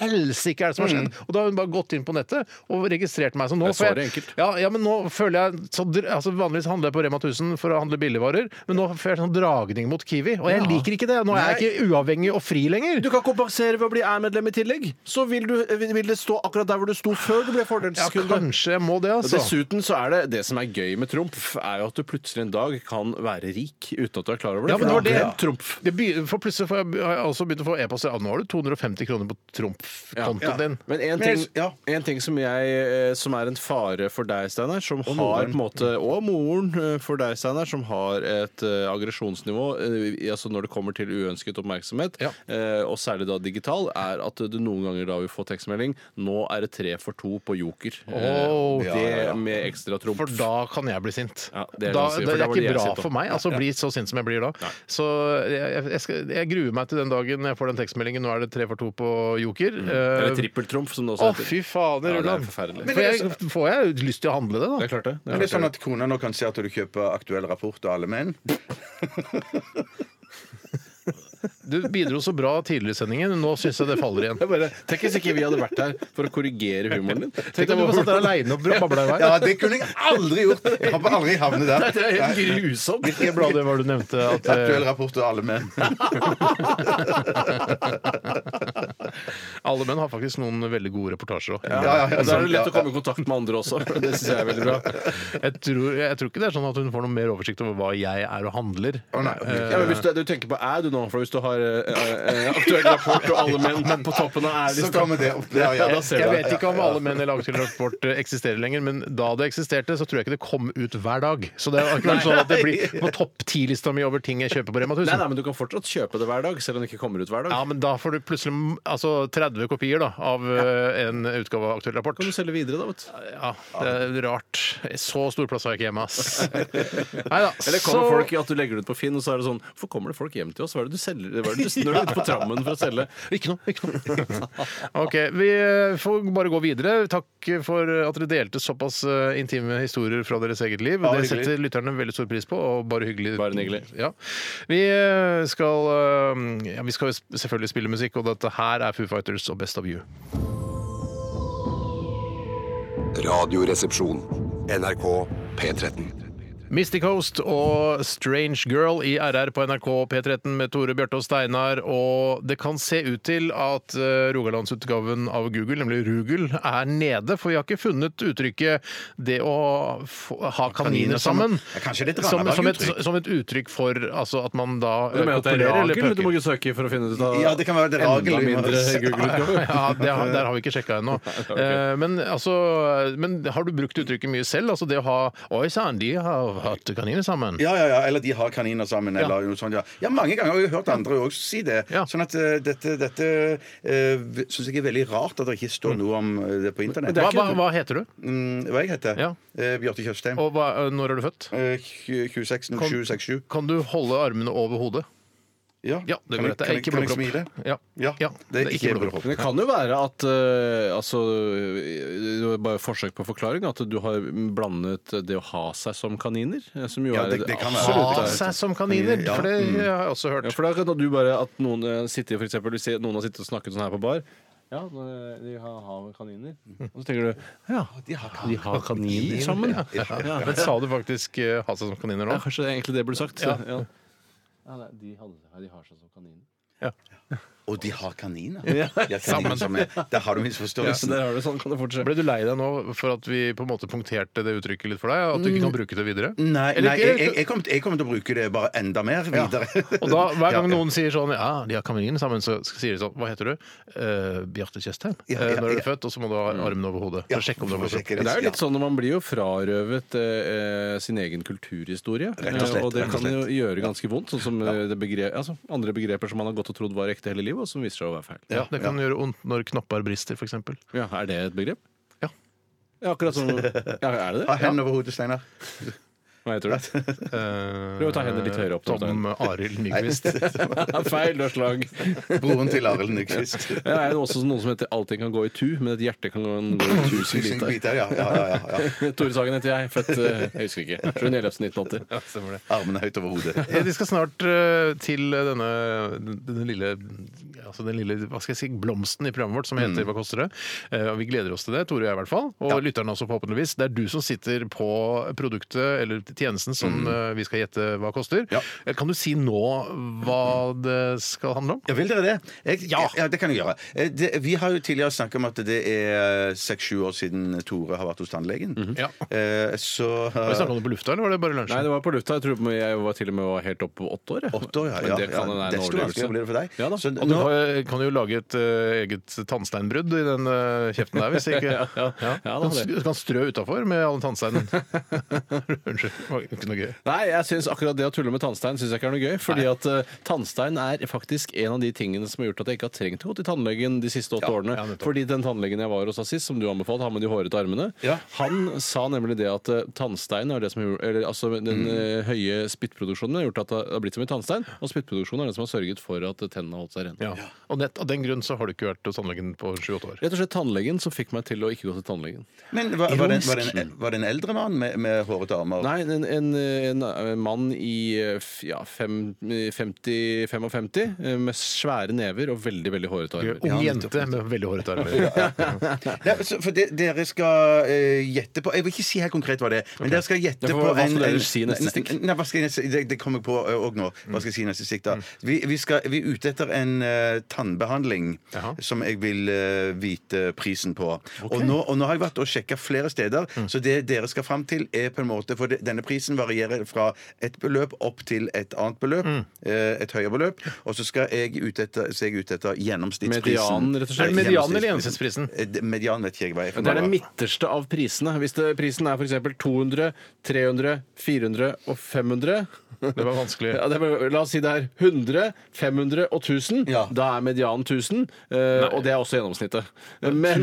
helsike er det som har skjedd? Og da har hun bare gått inn på nettet og registrert meg. Så nå
Mm. Det er
får
svaret
jeg
enkelt.
ja, ja, men nå føler jeg så, dr- altså Vanligvis handler jeg på Rema 1000 for å handle billigvarer, men nå får jeg sånn dragning mot Kiwi, og jeg liker ikke det. Nå er jeg ikke uavhengig og fri lenger.
Du kan kompensere ved å bli æ-medlem i tillegg. Så vil, du, vil det stå akkurat der hvor du sto før du ble
ja,
fordelskunde.
kanskje jeg må det,
Og
altså.
Dessuten så er det det som er gøy med trumf, er jo at du plutselig en dag kan være rik uten at du er klar over det.
Ja, men det
For
var
da
det.
er Trumf.
Det begynner, for plutselig får jeg, har jeg også begynt å få e-poster. Ja, nå har du 250 kroner på Trumf-kontoen din.
Men
Men
en
jeg-
ting,
ja.
en ting som, jeg, eh, som er en fare for deg, Steinar, som har på en måte, og moren eh, for deg, Steinar, som har et eh, aggresjonsnivå eh, i- altså når det kommer til uønsket oppmerksomhet,
Ja.
eh, og særlig da digital, er at du noen ganger da vil få tekstmelding 'Nå er det tre for to på Joker'. Eh,
Åh,
det med ekstra trumf.
For da kan jeg bli sint.
Ja, det
det,
er
da,
ganske- for
det,
da
er
blir
ikke
jeg
bra
sint da.
for meg altså, å bli så sint som jeg blir da. Så jeg, jeg- jeg, skal, jeg gruer meg til den dagen jeg får den tekstmeldingen 'Nå er det tre for to på Joker'.
Mm. Eller
Eh,
trippeltrumf, som det
Å,
også heter.
fy fader,
Ja, det er
Ulland.
forferdelig.
For jeg- Får jeg lyst til å handle det, da?
Det er klart det. det,
Men
er
det er
klart
sånn
det.
at kona nå kan se at du kjøper aktuell rapport av alle menn.
Du bidro så bra tidligere i sendingen, nå syns jeg det faller igjen.
Jeg bare, tenk hvis ikke vi hadde vært her for å korrigere humoren din.
Tenk om du bare satt der aleine og babla i vei.
Ja, det kunne jeg aldri gjort! Jeg håper aldri havne der.
Det er helt grusomt.
Hvilket blad det var du nevnte? At, eh,
Aktuell rapport av alle menn.
alle menn har faktisk noen veldig gode reportasjer òg.
Ja, ja, ja,
Og Da er
sånn,
det
ja,
lett å komme i kontakt med andre også. Det syns jeg er veldig bra.
Jeg tror, jeg tror ikke det er sånn at hun får noe mer oversikt over hva jeg er og handler.
Å, nei, ok.
Ja, men hvis du, du tenker på æ du nå, for hvis du har eh, eh, aktuell rapport og alle menn på toppen av liksom.
Så
ærlista
kommer det opp der, ja.
da ser
Jeg
du.
vet ikke om alle menn i Lagtil Rapport eksisterer lenger, men da det eksisterte, så tror jeg ikke det kom ut hver dag. Så det har ikke vært sånn at det blir på topp ti-lista mi over ting jeg kjøper på Rema
Nei, nei,
1000.
men du kan fortsatt kjøpe det hver dag, selv om det ikke kommer ut hver dag.
Ja, men da får du plutselig altså, 30 kopier da, av eh, en utgave av Aktuell Rapport.
Kan du selge videre, da, vet du.
Ja, det er rart. Så stor plass har jeg ikke hjemme, ass. Nei da.
Eller kommer
så-
folk i at du legger det ut på Finn, og så er det sånn Hvorfor kommer det folk hjem til oss? Hva er det du selger? Hva er det du når du er ute på trammen for å selge?
Ikke noe. ikke noe. OK. Vi eh, får bare gå videre. Takk for at dere delte såpass eh, intime historier fra deres eget liv. Det
hyggelig.
setter lytterne veldig stor pris på, og bare hyggelig.
Bare hyggelig.
Ja. Vi eh, skal, eh, ja, vi skal jo sp- selvfølgelig spille musikk, og dette her er Foo Fighters og Best of You.
Radioresepsjon. NRK P13.
Mystic Host og Strange Girl i RR på NRK P13 med Tore Bjarte og Steinar. Og det kan se ut til at eh, rogalandsutgaven av Google, nemlig Rugel, er nede. For vi har ikke funnet uttrykket 'det å få, ha kaniner sammen'
Ja, kanskje det er et
som, som, et,
Randaberg-uttrykk.
som et uttrykk for altså, at man da eh,
Du mener at det er
kopulerer eller
Rakel
pøker.
du må ikke søke for å finne ut av
Ja, det kan være det er Ragel.
enda
vi må-
mindre Google-utgave?
Ja, det har, der har vi ikke sjekka ennå. Eh, Men, altså, men har du brukt uttrykket mye selv? Altså det å ha Oi sann, de har har hatt kaniner sammen.
Ja, ja, ja, eller de har kaniner sammen, eller noe sånt. Ja, ja mange ganger har jeg hørt andre òg si det.
Ja.
Sånn at eh, dette, dette uh, syns jeg er veldig rart at det ikke står noe om eh, det på internett.
Hva, hva, hva heter du?
Mm, hva jeg heter
Ja.
Eh, Bjarte Tjøstheim.
Og hva, eh, når er du født?
Eh, 26
Kom.
07 67.
Kan du holde armene over hodet? Ja, det går
kan, jeg-
greit. Det
kan,
er
jeg-
ikke
kan jeg
blodpropp.
smile?
Ja.
Ja,
ja, det er ikke blodpropp.
Men det kan jo være at eh, altså, det var bare forsøk på forklaring at du har blandet det å ha seg som kaniner, eh, som jo
Ja,
er
det- det kan være.
absolutt-
Ha seg som kaniner,
Ja. Mm.
for det har jeg også hørt.
Ja, for da kan du bare at noen eh, sitter for eksempel, du ser noen har sittet og snakket sånn her på bar. Ja, nå- de har, har kaniner. Og så tenker du ja, de har, kaniner sammen. Ja. Ja.
Men sa du faktisk eh, ha seg som kaniner nå?
Ja, kanskje det er egentlig det burde sagt.
Ja.
Ja. Ja, nei, de, hadde, ja, de har seg som kaniner.
Og de har kaniner. Ja, kaniner som er. Der har du misforståelsen.
der har du sånn, kan det fortsette.
Ble du lei deg nå for at vi på en måte punkterte det uttrykket litt for deg? At du ikke
Mm.
kan bruke det videre?
Nei,
Eller
nei
ikke-
jeg, jeg- jeg, kommer til, jeg kommer til å bruke det bare enda mer videre.
Og da, hver gang
Ja, ja.
noen sier sånn Ja, de har kamelin sammen, så sier de sånn Hva heter du? Eh, Bjarte Tjøstheim.
Ja,
Eh,
ja,
når er
ja.
du
Mm.
født? Og så må du ha armene over hodet. For
Ja,
å sjekke om du har
for å
blodpropp.
sjekke
Men det er jo litt
ja.
sånn, at Man blir jo frarøvet eh, eh, sin egen kulturhistorie.
Rett og slett,
eh, og det
rett og
kan jo
slett.
gjøre ganske vondt. Sånn som eh, det begre altså, andre begreper som man har gått og trodd var ekte hele livet, og som viser seg å være feil.
Ja, det kan gjøre vondt når knapper brister, f.eks.
Ja, Er det et begrep?
Ja.
Ja, akkurat som ja, Er det
Ha
det?
hendene over hodet, Steinar.
Hva heter det?
Prøv
å ta hendene litt høyere opp, da.
Tom Eh, Arild Nyquist.
feil, du har slag.
Broren til Arild Nyquist.
Ja, er det også noe som heter 'allting kan gå i tu', men et hjerte kan gå en gå i tusen
Tusen
biter?
biter, ja. ja, ja, ja, ja.
Tore Sagen heter jeg. Født eh, Jeg husker ikke. 1980.
Stemmer det.
Armene høyt over hodet.
Eh, Vi skal snart eh, til denne, denne lille, altså den lille hva skal jeg si, blomsten i programmet vårt som heter Hva
Mm.
koster det? Eh, og vi gleder oss til det, Tore og jeg i hvert fall. Og lytterne også, forhåpentligvis. Det er du som sitter på produktet eller tjenesten som
Mm.
eh, vi skal gjette hva koster.
Ja.
Eh, Kan du si nå hva det skal handle om?
Ja, Vil dere det? Jeg,
Ja.
ja. det kan jeg gjøre. Eh, Det, vi har jo tidligere snakket om at det er eh, seks-sju år siden Tore har vært hos tannlegen.
Ja.
Eh, så
Har vi snakket om det på lufta, eller var det bare
Nei,
lunsjen?
det var på lufta. Jeg tror jeg var til og med var helt oppe på åtte år. jeg.
eh, Åtte år, ja.
Men
ja,
det kan
ja.
være en
Desto vanskeligere blir det for deg.
Ja da.
Så
og du
nå-
har- kan jo lage et eh, eget tannsteinbrudd i den eh, kjeften der, hvis ikke
Ja, ja. Ja, da,
kan,
det.
du kan strø utafor med alle tannsteinene. Unnskyld. Det var ikke noe gøy.
Nei, jeg synes akkurat det å tulle med tannstein synes jeg ikke er noe gøy. Fordi at eh, tannstein er faktisk en av de tingene som har gjort at jeg ikke har trengt å gå til tannlegen de siste åtte årene.
ja, nettopp.
fordi den tannlegen jeg var hos da sist, som du anbefalte, han med de hårete armene,
Ja.
han sa nemlig det at eh, tannstein er det som har gjort- eller, altså,
Mm.
den eh, høye spyttproduksjonen har gjort at det har blitt så mye tannstein. Og spyttproduksjonen er den som har sørget for at eh, tennene har holdt seg rene.
Ja. Og nett, av den grunn så har du ikke vært hos tannlegen på 7-8 år.
Rett og slett tannlegen som fikk meg til å ikke gå til tannlegen.
Men var, var, det, en- var, det en, var det en eldre mann med, med hårete armer?
Nei, en, en, en, en mann i eh, f- ja, fem- 50 55 eh, med svære never og veldig veldig hårete armer.
Ung jente med veldig hårete armer.
Nei, så- for det, dere skal eh, gjette på Jeg vil ikke si helt konkret hva det er. Men dere skal gjette
Ja, for
på
hva skal dere si i neste stikk?
Nei, nei, hva skal jeg neste, det, det kommer jeg på òg nå. Hva skal jeg si i neste stikk da
Mm.
vi, vi, skal, vi er ute etter en eh, tannbehandling
Jaha.
som jeg vil eh, vite prisen på. Og, nå, og nå har jeg vært og sjekka flere steder,
Mm.
så det dere skal fram til, er på en måte For det, denne prisen varierer fra et beløp opp til et annet beløp.
Mm.
eh, et høyere beløp. Og så skal jeg ute etter, så er jeg ute etter gjennomsnittsprisen.
Medianen, rett
Er det
og slett.
medianen eller gjennomsnittsprisen?
Eh, det- Median vet ikke jeg hva jeg
Det er den midterste av prisene. Hvis det, prisen er f.eks. 200, 300, 400 og 500
Det var vanskelig.
ja, det er, La oss si det er 100, 500 og 1000.
Ja.
Da er medianen 1000, eh, og det er også gjennomsnittet. Men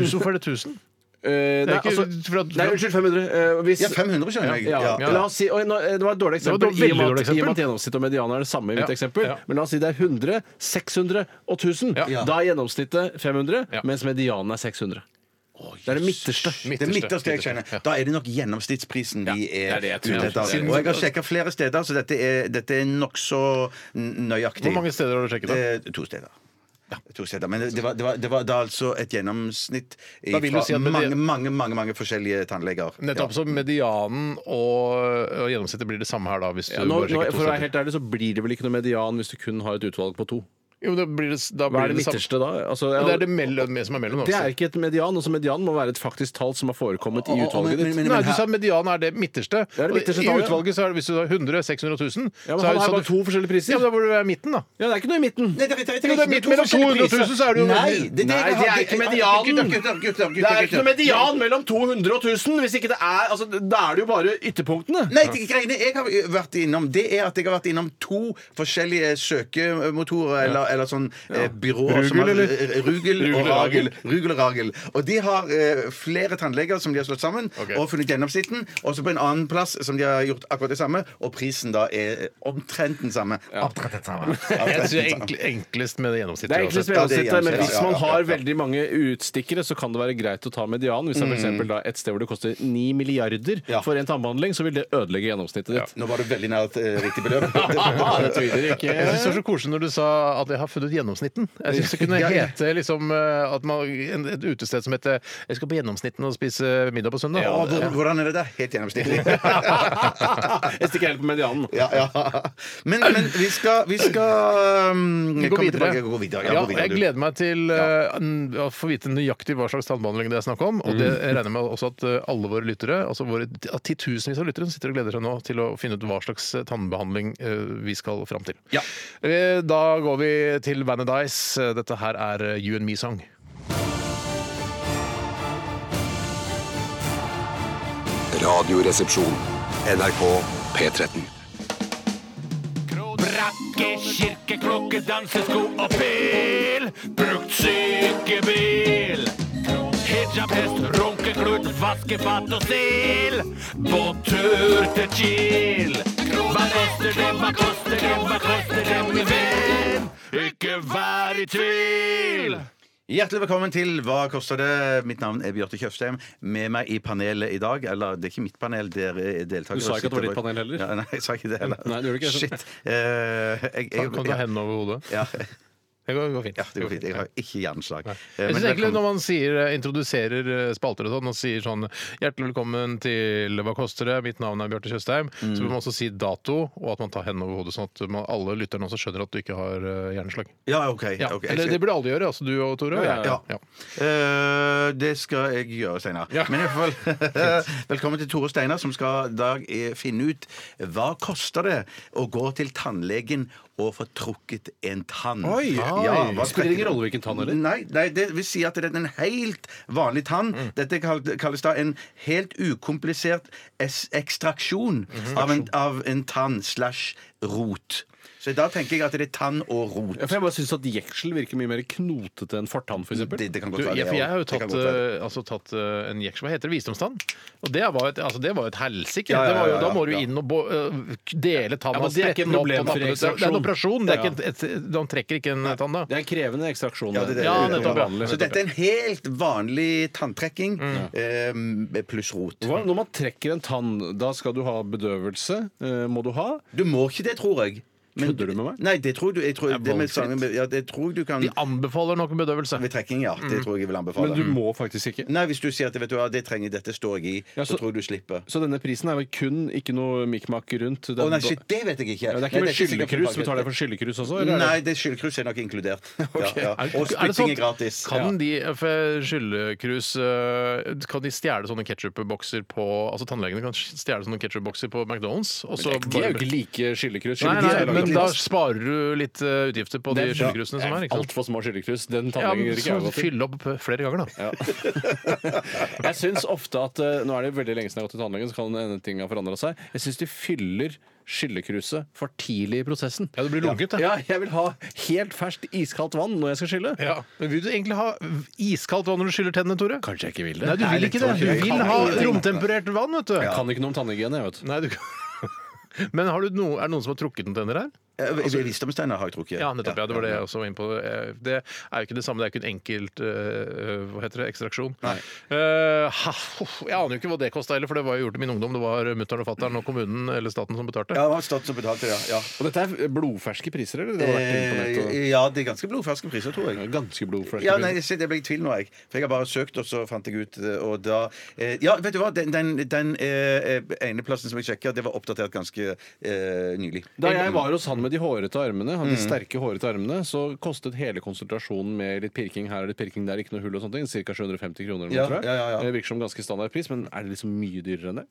Tusen for det tusen.
eh,
Det er
nei,
ikke
altså,
for at-
nei, unnskyld, 500. eh, hvis,
Ja, 500 skjønner jeg.
Ja,
Ja.
La oss si, oi, nå, eh, det var et dårlig
var et
eksempel,
veldig
i, og med at,
dårlig eksempel.
i og med at gjennomsnitt og median er det samme i mitt
Ja,
eksempel.
ja.
Men la oss si det er 100, 600 og 1000.
Ja.
Da er gjennomsnittet 500,
Ja.
mens medianen er 600. Det er det midterste.
Det midterste jeg skjønner. Da er det nok gjennomsnittsprisen vi
Ja,
er
det er det
ute
jeg tror.
etter. Og jeg har sjekka flere steder, så dette er, dette er nokså n- nøyaktig.
Hvor mange steder har du sjekket det?
Eh, to steder. To steder. Men det var, det, var, det var da altså et gjennomsnitt
Da vil du
fra
si at med
mange,
det-
mange, mange mange forskjellige tannleger.
Nettopp
Ja.
så medianen og, og gjennomsnittet blir det samme her da, hvis du
Ja, nå,
bare
nå,
sjekker to
for å være
steder.
helt ærlig så blir det vel ikke noe median hvis du kun har et utvalg på to.
Jo, men da blir det, da
Hva
blir
er det
samme-
midterste da? Altså,
Ja,
jeg-
Det er det mellom, som er mellom.
det
altså.
er ikke et median. altså Median må være et faktisk tall som har forekommet i utvalget ditt.
Nei, du sa median er det midterste.
er det
Og I
midterste tallet, ja.
utvalget så er det hvis du har 100 600 000 så er
Ja, men han
det
har
sånn-
bare to forskjellige priser.
Ja, men Da burde du være midten, da.
Ja, det er ikke noe i midten.
Nei, det er- det er- det er-
Jo, det er midt mellom 200 000, så er det jo-
Nei, det,
Nei, det er ikke medianen.
Gutter, gutter, gutter,
Det
gutter,
er ikke noe
gutter.
median mellom 200 og 1000. Hvis ikke det er, altså, da er det jo bare ytterpunktene.
Nei, de greiene jeg har vært innom, det er at jeg har vært innom to forskjellige søkemotorer eller, eller sånn eh, byråer som har-
Rugel,
Rugel og
Rugel og
Ragel. Rugel og Ragel. Og de har eh, flere tannleger som de har slått sammen
Ok.
og funnet gjennomsnitten. Også på en annen plass som de har gjort akkurat det samme, og prisen da er eh, omtrent den samme. Omtrent den samme.
Jeg
Omtrent
synes det er
den samme.
enkle- enklest med det gjennomsnittlige.
Det er enklest
uansett.
med
Ja, det er
gjennomsnittet, men
gjennomsnitt,
hvis
ja,
man
ja, ja,
har
ja.
veldig mange utstikkere, så kan det være greit å ta median. Hvis det er for eksempel da et sted hvor det koster 9 milliarder
Mm. Ja.
for en tannbehandling, så vil det ødelegge gjennomsnittet ditt.
Nå var du veldig nær et eh, riktig beløp.
det tviler ikke.
Jeg synes det var så koselig når du sa at jeg har funnet gjennomsnitten. Jeg synes det kunne hete liksom eh, at man, en- et utested som heter 'Jeg skal på gjennomsnitten og spise middag på søndag'.
Å, hvor- Hvordan er det der? Helt gjennomsnittlig.
Jeg stikker helt på medianen.
Ja, ja. Men, men vi skal, vi skal um,
Vi
komme
går videre.
tilbake. Gå videre, ja,
Ja,
gå videre
jeg
du.
gleder meg til eh, n- å få vite nøyaktig hva slags tannbehandling det er snakk om. Og det
Mm.
regner jeg med også at eh, alle våre lyttere, altså våre t- at titusenvis av lyttere, som sitter og gleder seg nå til å finne ut hva slags eh, tannbehandling eh, vi skal fram til.
Ja.
Eh, Da går vi til Vanadice. Eh, Dette her er eh, You and Me Song.
Radioresepsjon. NRK P13.
Brakke, kirke, klokke, dansesko og pil. Brukt sykebil. Hijab, hest, runkeklut, vaskefat og stil. På tur til Kiel. Hva koster det, hva koster det, hva koster det, min venn? Ikke vær i tvil!
Hjertelig velkommen til Hva koster det? Mitt navn er Bjarte Tjøstheim. Med meg i panelet i dag Eller det er ikke mitt panel, der er eh, deltakere.
Du sa ikke at det var ditt panel heller?
Ja, nei, jeg sa ikke det heller.
Nei, du gjorde ikke det.
Shit. Eh, jeg, jeg,
Kan ta hendene over hodet.
ja,
Det går, går fint.
ja, det går fint. Jeg har ikke hjerneslag. Eh,
Jeg
men
synes egentlig
velkommen.
Når man sier, introduserer eh, spalter og sånn, og sier sånn 'Hjertelig velkommen til Hva koster det?' Mitt navn er Bjarte Tjøstheim.
Mm.
Så bør man også si dato, og at man tar hendene over hodet, sånn at man, alle lytterne også skjønner at du ikke har eh, hjerneslag.
Ja, OK.
Ja.
ok.
Eller det burde alle gjøre, altså du og Tore.
Ja,
ja. Eh, det skal jeg gjøre seinere.
Ja.
Men i hvert fall velkommen til Tore Steinar, som skal i dag eh, finne ut hva koster det å gå til tannlegen og få trukket en tann.
Oi! Oi.
hva-
Spiller det ingen rolle hvilken tann, eller?
Nei, nei det vil si at det er en helt vanlig tann.
Mm.
Dette kall- kalles da en helt ukomplisert es
Mhm.
ekstraksjon av, en, av en tann slash rot. Så da tenker jeg at det er tann og rot.
Ja, for jeg bare syns at jeksel virker mye mer knotete enn fortann, f.eks.
Det, det kan
Du,
godt være
jeg,
det,
for jeg har jo
det kan
tatt,
godt være det.
eh, altså, tatt eh, en jeksel. Hva heter det? Visdomstann? Og det var jo et, altså, det var jo et helsike.
Ja, ja,
Det var jo-
ja, ja,
Da må du
ja.
inn og bo, eh, dele tanna.
Ja, men det er
sprette
ikke en
den opp og
problemfri
nappe den ut. Det er- Det er en operasjon. Det er
Ja.
ikke et, et, de trekker ikke en tann da.
Det er en krevende ekstraksjon.
Ja, det, det,
Ja,
det,
nettopp, ja.
Så dette er en helt vanlig tanntrekking eh, pluss rot.
Mm. Hva- Når man trekker en tann, da skal du ha bedøvelse? eh, Må du ha?
Du må ikke det, tror jeg. Men-
Kødder du med meg?
Nei, det tror du jeg tror, det med
valgfritt.
sangen- ja, det tror jeg du kan
De anbefaler noe bedøvelse.
Ved trekking, ja. Det tror jeg jeg vil anbefale.
Mm. Men du må faktisk ikke.
Nei, hvis du sier at vet du, hva, det trenger jeg, dette står jeg i,
Ja,
så,
så-
tror jeg du slipper.
Så denne prisen er vel kun ikke noe mikmak rundt?
Å nei, shit, det vet jeg ikke.
Ja, det er
Nei,
ikke med
dette sikkert
skyllekrus?
tilbake.
Betaler jeg for skyllekrus også? eller er det-
Nei, det skyldkrus er nok inkludert. ja, ja. Og
Er det
spytting
sånn-
er gratis.
Kan de for skyllekrus øh, Kan de stjele sånne ketsjupbokser på Altså tannlegene kan stjele sånne ketsjupbokser på McDonald's. Og så
De er jo
bare-
ikke
Nei,
like skyllekrus. Skyllekrus
nei,
er
men
laget-
da sparer du litt øh, utgifter på de skyllekrusene som er. ikke sant?
Altfor små skyllekrus. Den
Ja,
tannlegen
men
gjør ikke
så
jeg godt til.
fyll opp eh, flere ganger, da.
Jeg syns ofte at eh, Nå er det veldig lenge siden jeg har gått til tannlegen, så kan hende ting har forandra seg. Jeg syns de fyller skyllekruset for tidlig i prosessen.
Ja, du blir lunket,
Ja, jeg vil ha helt ferskt iskaldt vann når jeg skal skylle.
Ja. Men vil du egentlig ha iskaldt vann når du skyller tennene, Tore?
Kanskje jeg ikke vil det. sånn
Nei, du vil ikke det. Du vil ha romtemperert vann, vet du.
Jeg kan ikke noe om tannhygiene, jeg, vet du.
Nei, du kan- Men har du noe, er det noen som har trukket noen tenner her?
Altså, Visdomstegner har jeg trukket.
Ja, nettopp. Ja, det var det jeg også var inne på. Eh, Det er jo ikke det samme. Det er ikke en enkelt eh, hva heter det, ekstraksjon. Eh, ha, uff, jeg aner jo ikke hva det kosta heller, for det var jo gjort i min ungdom. Det var mutter'n og fatter'n og kommunen eller staten som betalte.
Ja, det var staten som betalte det, ja.
Og dette er blodferske priser, eller? Det har vært inne på nett og-
Eh, ja, det er ganske blodferske priser, tror jeg.
Ja, Ganske blodferske
Ja,
priser.
nei, shit, jeg ble i tvil nå, jeg. For jeg har bare søkt, og så fant jeg ut eh, Og da eh, Ja, vet du hva? Den, den, den eh, ene plassen som jeg sjekka, det var oppdatert ganske eh, nylig.
Da jeg var hos han han med de hårete armene, han med
Mm.
de sterke hårete armene, så kostet hele konsultasjonen med litt pirking her og litt pirking der, ikke noe hull og sånne ting, ca. 750 kroner. eller noe,
Ja,
tror jeg.
ja, ja, ja.
Det virker som ganske standard pris, men er det liksom mye dyrere enn det?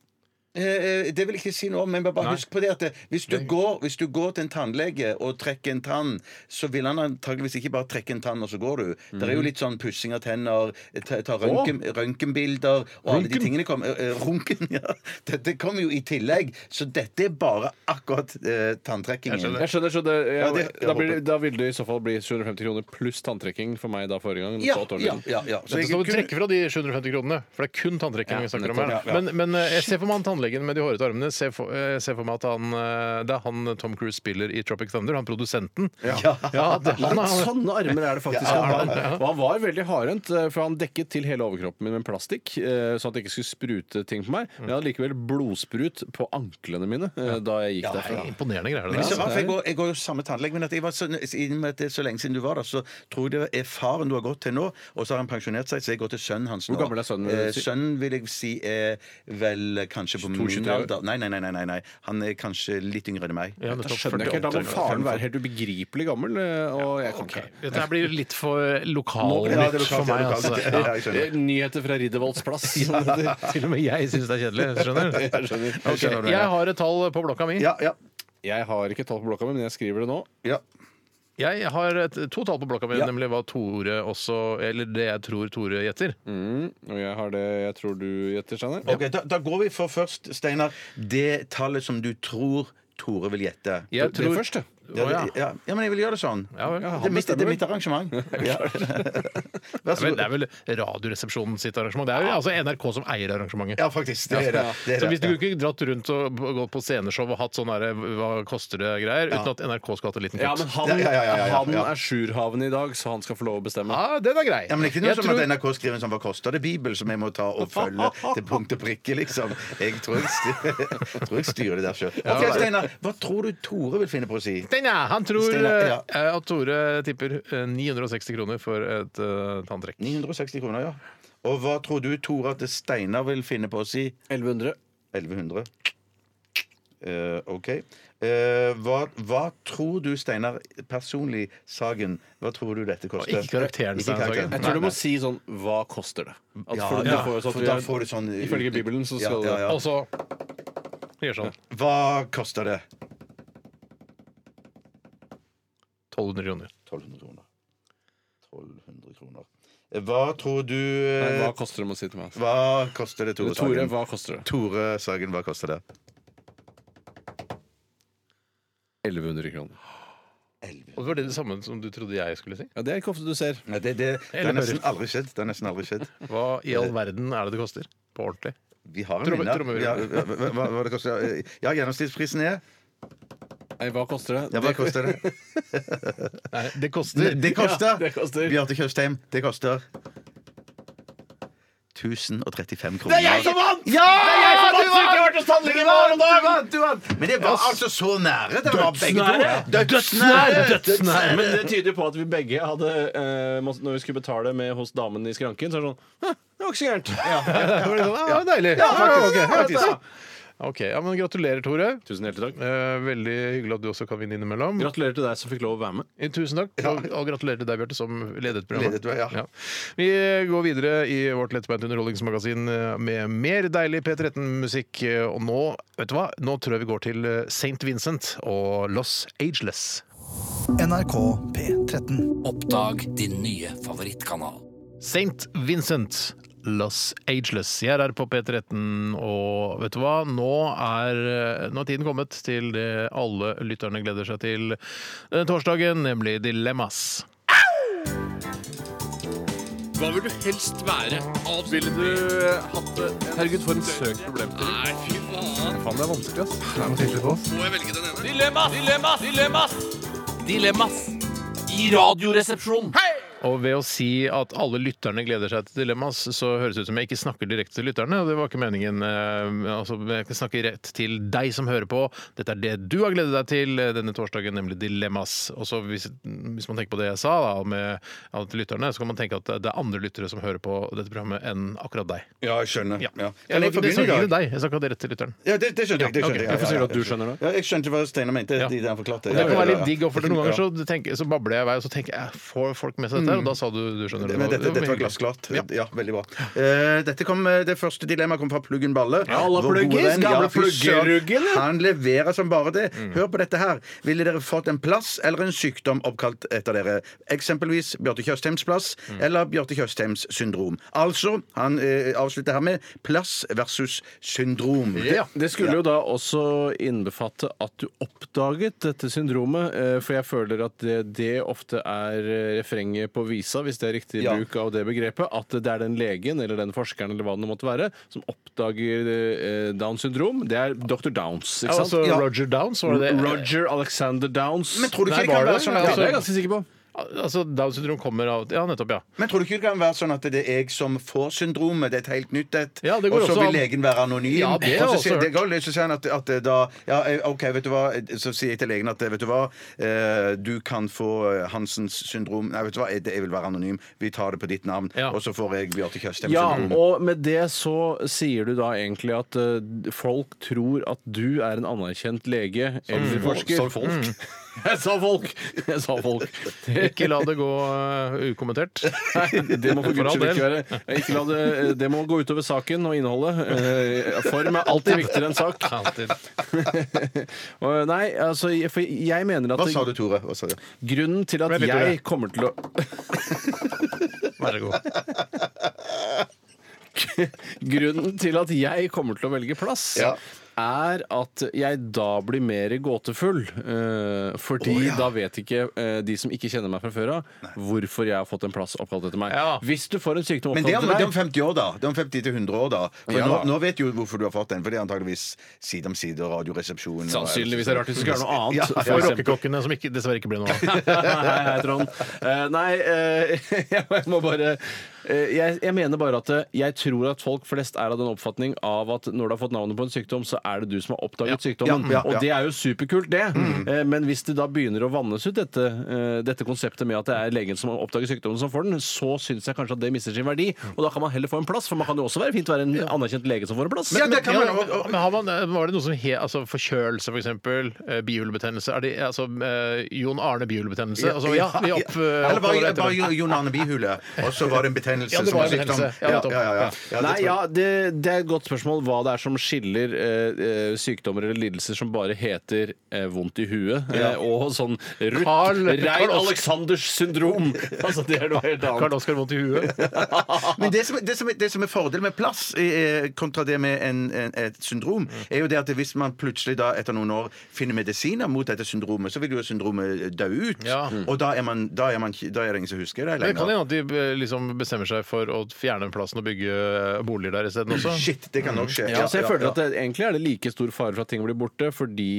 Eh, eh, Det vil jeg ikke si noe om, men bare husk på det at det- hvis du, går, hvis du går til en tannlege og trekker en tann, så vil han antageligvis ikke bare trekke en tann, og så går du. Det
Mhm.
er jo litt sånn pussing av tenner, eh, ta, ta røntgen, røntgenbilder og alle de
Runken?
tingene kommer eh, eh, Runken, ja. Dette kommer jo i tillegg. Så dette er bare akkurat eh, tanntrekkingen.
Jeg skjønner, så det, jeg,
Ja, det- jeg
da, blir,
håper.
da vil det i så fall bli 750 kroner pluss tanntrekking for meg da forrige gang.
Ja,
for åtte år
ja,
siden.
ja, ja. Så
Dette skal
jeg
du trekke fra de 750 kronene, for det er kun tanntrekking vi snakker om her.
nettopp, ja, ja.
Men, men eh, jeg ser for meg han tannlegen med de hårete armene. Ser for, eh, ser for meg at han eh, Det er han Tom Cruise spiller i Tropic Thunder, han produsenten. Ja, det, han,
Litt
han,
sånne armer er det faktisk han har. Og han var veldig hardhendt, eh, for han dekket til hele overkroppen min med plastikk, eh, sånn at det ikke skulle sprute ting på meg. Men jeg hadde likevel blodsprut på anklene mine eh, da jeg gikk derfra.
imponerende greier, det
Men så
der. altså.
rart, for jeg, går, jeg går jo samme tannlege, men at jeg var så, i og med at det er så lenge siden du var der, så tror jeg det er faren du har gått til nå, og så har han pensjonert seg, så jeg går til sønnen hans nå.
Hvor gammel er sønnen, vil du
Eh,
si?
sønnen vil jeg si er vel eh, kanskje på min
22 år?
alder. Nei, nei, nei, nei, nei, nei. Han er kanskje litt yngre enn meg.
Ja, nettopp.
Da skjønner jeg ikke, helt, da må
48
faren være helt ubegripelig gammel. eh, Og jeg kan ikke.
Dette her blir litt for
Nå blir
lokalnytt
det-
det er lokalt,
for meg.
ja, lokalt.
Altså.
Ja, jeg skjønner.
Eh, Nyheter fra Riddervolds plass. som det heter.
Til og med jeg syns det er kjedelig. Skjønner du?
Jeg skjønner.
Ok, Jeg har et tall på blokka mi.
Ja, ja,
Jeg har ikke tall på blokka mi, men jeg skriver det nå.
ja.
Jeg har et, to tall på blokka mi,
Ja.
nemlig hva Tore også Eller det jeg tror Tore gjetter.
Mm.
Og jeg har det jeg tror du gjetter, Steinar.
Ok, da, da går vi for først, Steinar, det tallet som du tror Tore vil gjette.
Jeg
Det
tror-
første.
Ja,
Å, ja.
ja. ja, men jeg vil gjøre det sånn.
Ja, vel.
det, er mitt, det er mitt arrangement. Ja. Vær
Det er vel- det er vel Radioresepsjonen sitt arrangement. Det er jo altså NRK som eier arrangementet.
Ja, faktisk. Det er det. det, er
Så hvis
det.
du kunne ikke dratt rundt og b- gått på sceneshow og hatt sånn derre hva koster det-greier, uten at NRK skulle hatt en liten
Ja,
kutt.
men han,
Ja, ja, ja, ja, ja.
han er sjurhaven i dag, så han skal få lov å bestemme.
Ja, den er grei.
Ja, men det er ikke noe
Jeg
som
tror-
at NRK skriver en sånn 'Hva koster det?' Bibel, som jeg må ta og følge til punkt og prikke, liksom. Jeg tror jeg, styr, jeg, tror jeg styrer det der sjøl. Ok, Steinar, hva tror du Tore vil finne på å si?
Den er, han tror
Steinar, ja.
eh, at Tore tipper eh, 960 kroner for et eh, tanntrekk.
960 kroner, ja. Og hva tror du Tore at Steinar vil finne på å si?
1100.
1100. Eh, OK. Eh, hva, hva tror du, Steinar, personlig, Sagen, hva tror du dette koster?
Ikke karakteren,
Ikke
Steinar Sagen.
karakteren.
Jeg tror du må si sånn Hva koster det? At
Ja,
for, du
ja,
får jo sånn at
for
vi
da
er-
får du sånn
Ifølge Bibelen så skal
Ja, ja, ja.
Og så gjør sånn.
Hva koster det?
1200 kroner.
1200 kroner. 1200 kroner. Eh, Hva tror du
det Nei,
eh,
Hva koster det må si til meg?
Hva koster det, Tore
Tore,
Sagen?
hva koster det?
Tore Sagen, hva koster det?
1100 kroner.
Og det var det det samme som du trodde jeg skulle si.
Ja, Det er ikke ofte du ser.
Nei, det, det, det
Eller
har nesten aldri skjedd. Det har nesten aldri skjedd.
Hva i all verden er det det koster? På ordentlig.
Vi har en
Tromme-
vinner.
trommevirvel.
Ja, hva, hva, hva det koster det? Ja, gjennomsnittsprisen er
Nei, hva koster det?
Ja, hva koster det?
Nei, det koster
Det koster!
Ja, det koster.
Bjarte Tjøstheim, det koster 1035 kroner. Det er jeg som vant! Ja! du vant! Du vant, du vant, du vant! Men det var altså så nære. Det var begge to. Dødsnære!
Nei, men det tyder jo på at vi begge hadde eh, mått- Når vi skulle betale med hos damen i skranken, så er det sånn «Hæ, Det var ikke så gærent.
Det var litt sånn, ja, deilig. Ja, ok, faktisk. Ok, ja, men Gratulerer, Tore.
Tusen hjertelig takk.
Eh, veldig hyggelig at du også kan vinne innimellom.
Gratulerer til deg som fikk lov å være med.
Eh, Tusen takk. Og, og gratulerer til deg, Bjarte, som ledet programmet.
Ledet, ja.
Vi går videre i vårt lettbeint underholdningsmagasin eh, med mer deilig P13-musikk. eh, Og nå, vet du hva? Nå tror jeg vi går til eh, St. Vincent og Los Ageless.
NRK P13.
Oppdag din nye favorittkanal.
St. Vincent. Los Ageless. Jeg er her på P13, og vet du hva? Nå er, nå er tiden kommet til det alle lytterne gleder seg til denne torsdagen, nemlig Dilemmas.
Herregud, for en søk problem til.
Dilemmas! Dilemmas! Dilemmas! I radioresepsjonen!
Og ved å si at alle lytterne gleder seg til Dilemmas, så høres det ut som jeg ikke snakker direkte til lytterne, og det var ikke meningen. Eh, Altså, jeg snakker rett til deg som hører på. Dette er det du har gledet deg til eh, denne torsdagen, nemlig Dilemmas. Og så hvis, hvis man tenker på det jeg sa da, med alle til lytterne, så kan man tenke at det er andre lyttere som hører på dette programmet enn akkurat deg.
Ja, jeg skjønner. Ja. Kan
Jeg,
jeg
jeg,
få begynne i
snakker ikke til
dag?
deg, jeg snakker det rett til lytteren.
Ja, det, det skjønte jeg. Det skjønte
ok.
jeg.
Hvorfor sier du at
du skjønner det?
Ja, jeg skjønte hva Steinar mente. De der han forklarte.
Og det
Ja,
kan
ja,
være
ja,
litt
ja.
digg, også, for noen
Ja. Mm.
ganger så, tenker, så babler jeg i vei, og så tenker jeg får folk med seg dette, og da sa du du skjønner det.
Men dette,
Det
dette var
hyggelig.
glassklart. Ja. veldig bra. Eh, dette kom, eh, det første dilemmaet kom fra Pluggen Balle.
Ja, alle
Vår gode
pluggis,
venn,
gamle
fy søren.
pluggeruggen.
Han leverer som bare det.
Mm.
Hør på dette her. Ville dere fått en plass eller en sykdom oppkalt etter dere? Eksempelvis Bjarte Tjøstheims plass
Mm.
eller Bjarte Tjøstheims syndrom. Altså, han eh, avslutter her med plass versus syndrom.
Ja.
Det skulle jo da også innbefatte at du oppdaget dette syndromet, eh, for jeg føler at det, det ofte er eh, refrenget på visa, hvis det er riktig
Ja.
bruk av det begrepet, at det er den legen eller den forskeren eller hva det nå måtte være, som oppdager eh, Downs syndrom. Det er Dr. Downs,
Ja,
ikke sant?
altså
Ja.
Roger Downs, var det det?
Roger Alexander Downs.
Men tror du ikke
Nei,
det kan
var
være sånn at-
Ja, det er jeg ganske sikker på.
Altså, Downs syndrom kommer av Ja, nettopp, ja.
Men tror du ikke det kan være sånn at det er jeg som får syndromet? Det er et helt nytt et.
Ja, det går
og så
også
vil
an.
legen være anonym.
Ja, det har
og så
jeg
sier,
også
det går, litt, så sier han at, at da ja, eh, OK, vet du hva. Så sier jeg til legen at vet du hva, eh, du kan få eh, Hansens syndrom. Nei, vet du hva, jeg, jeg vil være anonym. Vi tar det på ditt navn.
Ja.
Og så får jeg Bjarte Tjøstheim
Ja,
syndrom.
og med det så sier du da egentlig at eh, folk tror at du er en anerkjent lege eller forsker. Mm.
Sa folk?
Jeg sa folk! Jeg sa folk.
Ikke la det gå eh, ukommentert.
Nei, det må
For
for guds
all
skyld
del.
ikke være. Ikke la det, eh, det må gå utover saken og innholdet. Eh, Form er alltid viktigere enn sak.
Alltid.
Og Nei, altså, jeg- for jeg mener at
Hva sa du, Tore? Hva sa du?
grunnen til at
Vent litt, Tore.
jeg kommer til å
Vær så god.
Grunnen til at jeg kommer til å velge plass,
Ja.
er at jeg da blir mer gåtefull. eh, fordi
Å, ja.
da vet ikke eh, de som ikke kjenner meg fra før av, hvorfor jeg har fått en plass oppkalt etter meg.
Ja.
Hvis du får en sykdom
Men det er,
oppkalt
om, det er
etter
om
deg
50 år, da. Det er om 50 til 100 år, da. For
Ja,
nå,
da.
nå vet du jo hvorfor du har fått den. For det er antageligvis Side om side, Radioresepsjonen og-
Sannsynligvis er det rart hvis du skal gjøre noe annet.
Ja,
for
For
eksempel.
rockekokkene, som ikke, dessverre ikke ble noe av.
Hei, hei, Trond. Eh, nei, eh, jeg må bare eh, jeg, jeg mener bare at eh, jeg tror at folk flest er av den oppfatning av at når du har fått navnet på en sykdom, så er det du som har oppdaget sykdommen.
Ja, Mm. ja, ja.
Og det er jo superkult, det. Eh, men hvis det da begynner å vannes ut, dette, eh, dette konseptet med at det er legen som oppdager sykdommen som får den, så syns jeg kanskje at det mister sin verdi. Og da kan man heller få en plass, for man kan jo også være fint å være en anerkjent lege som får en plass.
Ja, det kan
Ja,
man
men, men har man, eh, var det noe som he, altså Forkjølelse, for eksempel. eh, Bihulebetennelse. Er det altså eh, Jon Arne bihulebetennelse? Altså, ja, vi opp, eh,
Eller
oppover
bare,
etter
bare
det.
Jon- Jon Arne Bihule, og så var det en betennelse
Ja, det
som
var
var
en
sykdom.
betennelse. Ja, nettopp.
Ja, det tror
Nei,
jeg.
ja, det, det er et godt spørsmål hva det er som skiller eh, eh, sykdommer eller lidelser som bare heter eh, vondt i huet eh, og sånn Ruth
Carl- Carl
Rein
Oskar-
Alexanders syndrom. Altså, det er noe helt
Karl
annet.
Oskar vondt i huet.
Men det som, det, som er, det som er fordelen med plass eh, kontra det med en, en, et syndrom, er jo det at hvis man plutselig da etter noen år finner medisiner mot dette syndromet, så vil jo syndromet dø ut.
Ja.
Og da er, man, da, er man, ikke- da er det ingen som husker det
Men Det kan
lenger.
hende at de eh, liksom bestemmer seg for å fjerne den plassen og bygge eh, boliger der isteden også.
Shit, det kan nok skje.
Ja, så jeg
ja,
føler
ja.
at det, Egentlig er det like stor fare for at ting blir borte fordi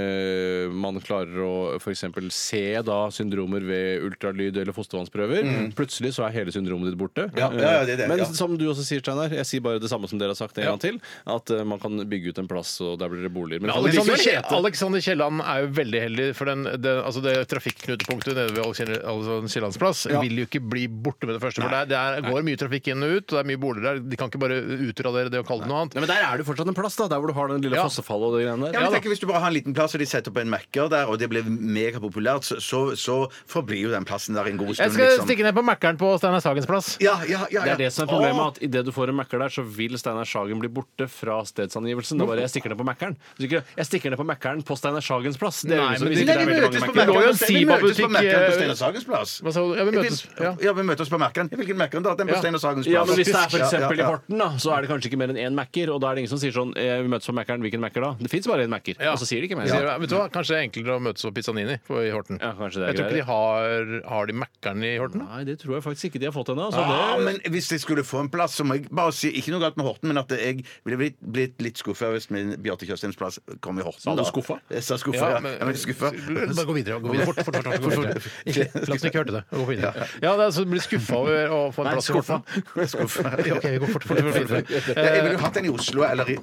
eh, man klarer å f.eks. se da syndromer ved ultralyd eller fostervannsprøver. Plutselig så er hele syndromet ditt borte.
Ja, ja, ja, det er det,
Men
ja.
som du også sier, Steinar, jeg sier bare det samme som dere har sagt en
Ja.
gang til. At eh, man kan bygge ut en plass, og der blir det boliger. Men det kan
Alexander,
likevel
Kje-
hete-
Alexander Kielland er jo veldig heldig, for den, det, altså det trafikknutepunktet nede ved Alexander- Alexander Kiellands plass vil jo ikke bli borte med det første. For der, der går mye trafikk inn og ut, og det er mye boliger der. De kan ikke bare utradere det og kalle det noe annet.
Nei, men der er det fortsatt en plass, da. Der hvor du har den lille
Ja.
fossefallet og de greiene der.
Ja, men tenk, hvis du bare har en liten plass, og de setter opp en Mac-er der, og det blir megapopulært, så, så, så forblir jo den plassen der en god stund.
Jeg skal
liksom.
stikke ned på Mækkern på Steinar Sagens plass.
Ja, ja, ja, ja.
Det er det som er problemet, at idet du får en Mækker der, så vil Steinar Sagen bli borte fra stedsangivelsen. Det er bare 'jeg stikker ned på Mækkern'. Så ikke 'Jeg stikker ned på Mækkeren på Steinar Sagens plass'. Det er
Nei,
jo ingen som
men det-
visste det er
det
veldig
møtes
mange
på
Mækker.
Mækkern.
Vi møtes på
Mækkern på
Mækkern på Steinar
Steinar
Sagens plass.
Hva sa du? Ja, vi møtes. Ja.
Ja, vi møtes på Mækkern. Jeg vil hvilken Mac-er han tar. Den på
Ja.
Stein og Sagens
Ja,
plass.
men Hvis det er for
Ja, ja,
eksempel i
ja.
Horten, da, så er det kanskje ikke mer enn én Mac-er. Og da er det ingen som sier sånn eh, Vi møtes på Mac-eren, hvilken Mac-er da? Det fins bare én Mac-er. Og så sier de ikke mer.
Sier du, Vet du hva, Kanskje det er enklere å møtes på Pizzanini på- i Horten.
Ja, kanskje det er
jeg tror ikke de har, har de Mækkern i Horten. da?
Nei, det tror jeg faktisk ikke de har fått ennå. Så
Ja,
det
men hvis jeg skulle få en plass, så må jeg bare si Ikke noe galt med Horten, men at jeg ville blitt, blitt litt skuffa hvis min Bjarte Tjøstheims plass kom i Horten.
Sa du
da.
skuffa? Eh,
Jeg sa skuffa, ja. Jeg ble skuffa.
Bare gå videre. Gå videre. Fort, fort, fort, fort, gå videre. Ikke- La oss ikke hørte det. Gå videre. Ja, det er altså du blir skuffa over å få en plass i Horten.
Skuffa.
Ja, OK, vi går fort, fort, fort videre.
Jeg ville jo hatt den i Oslo eller i,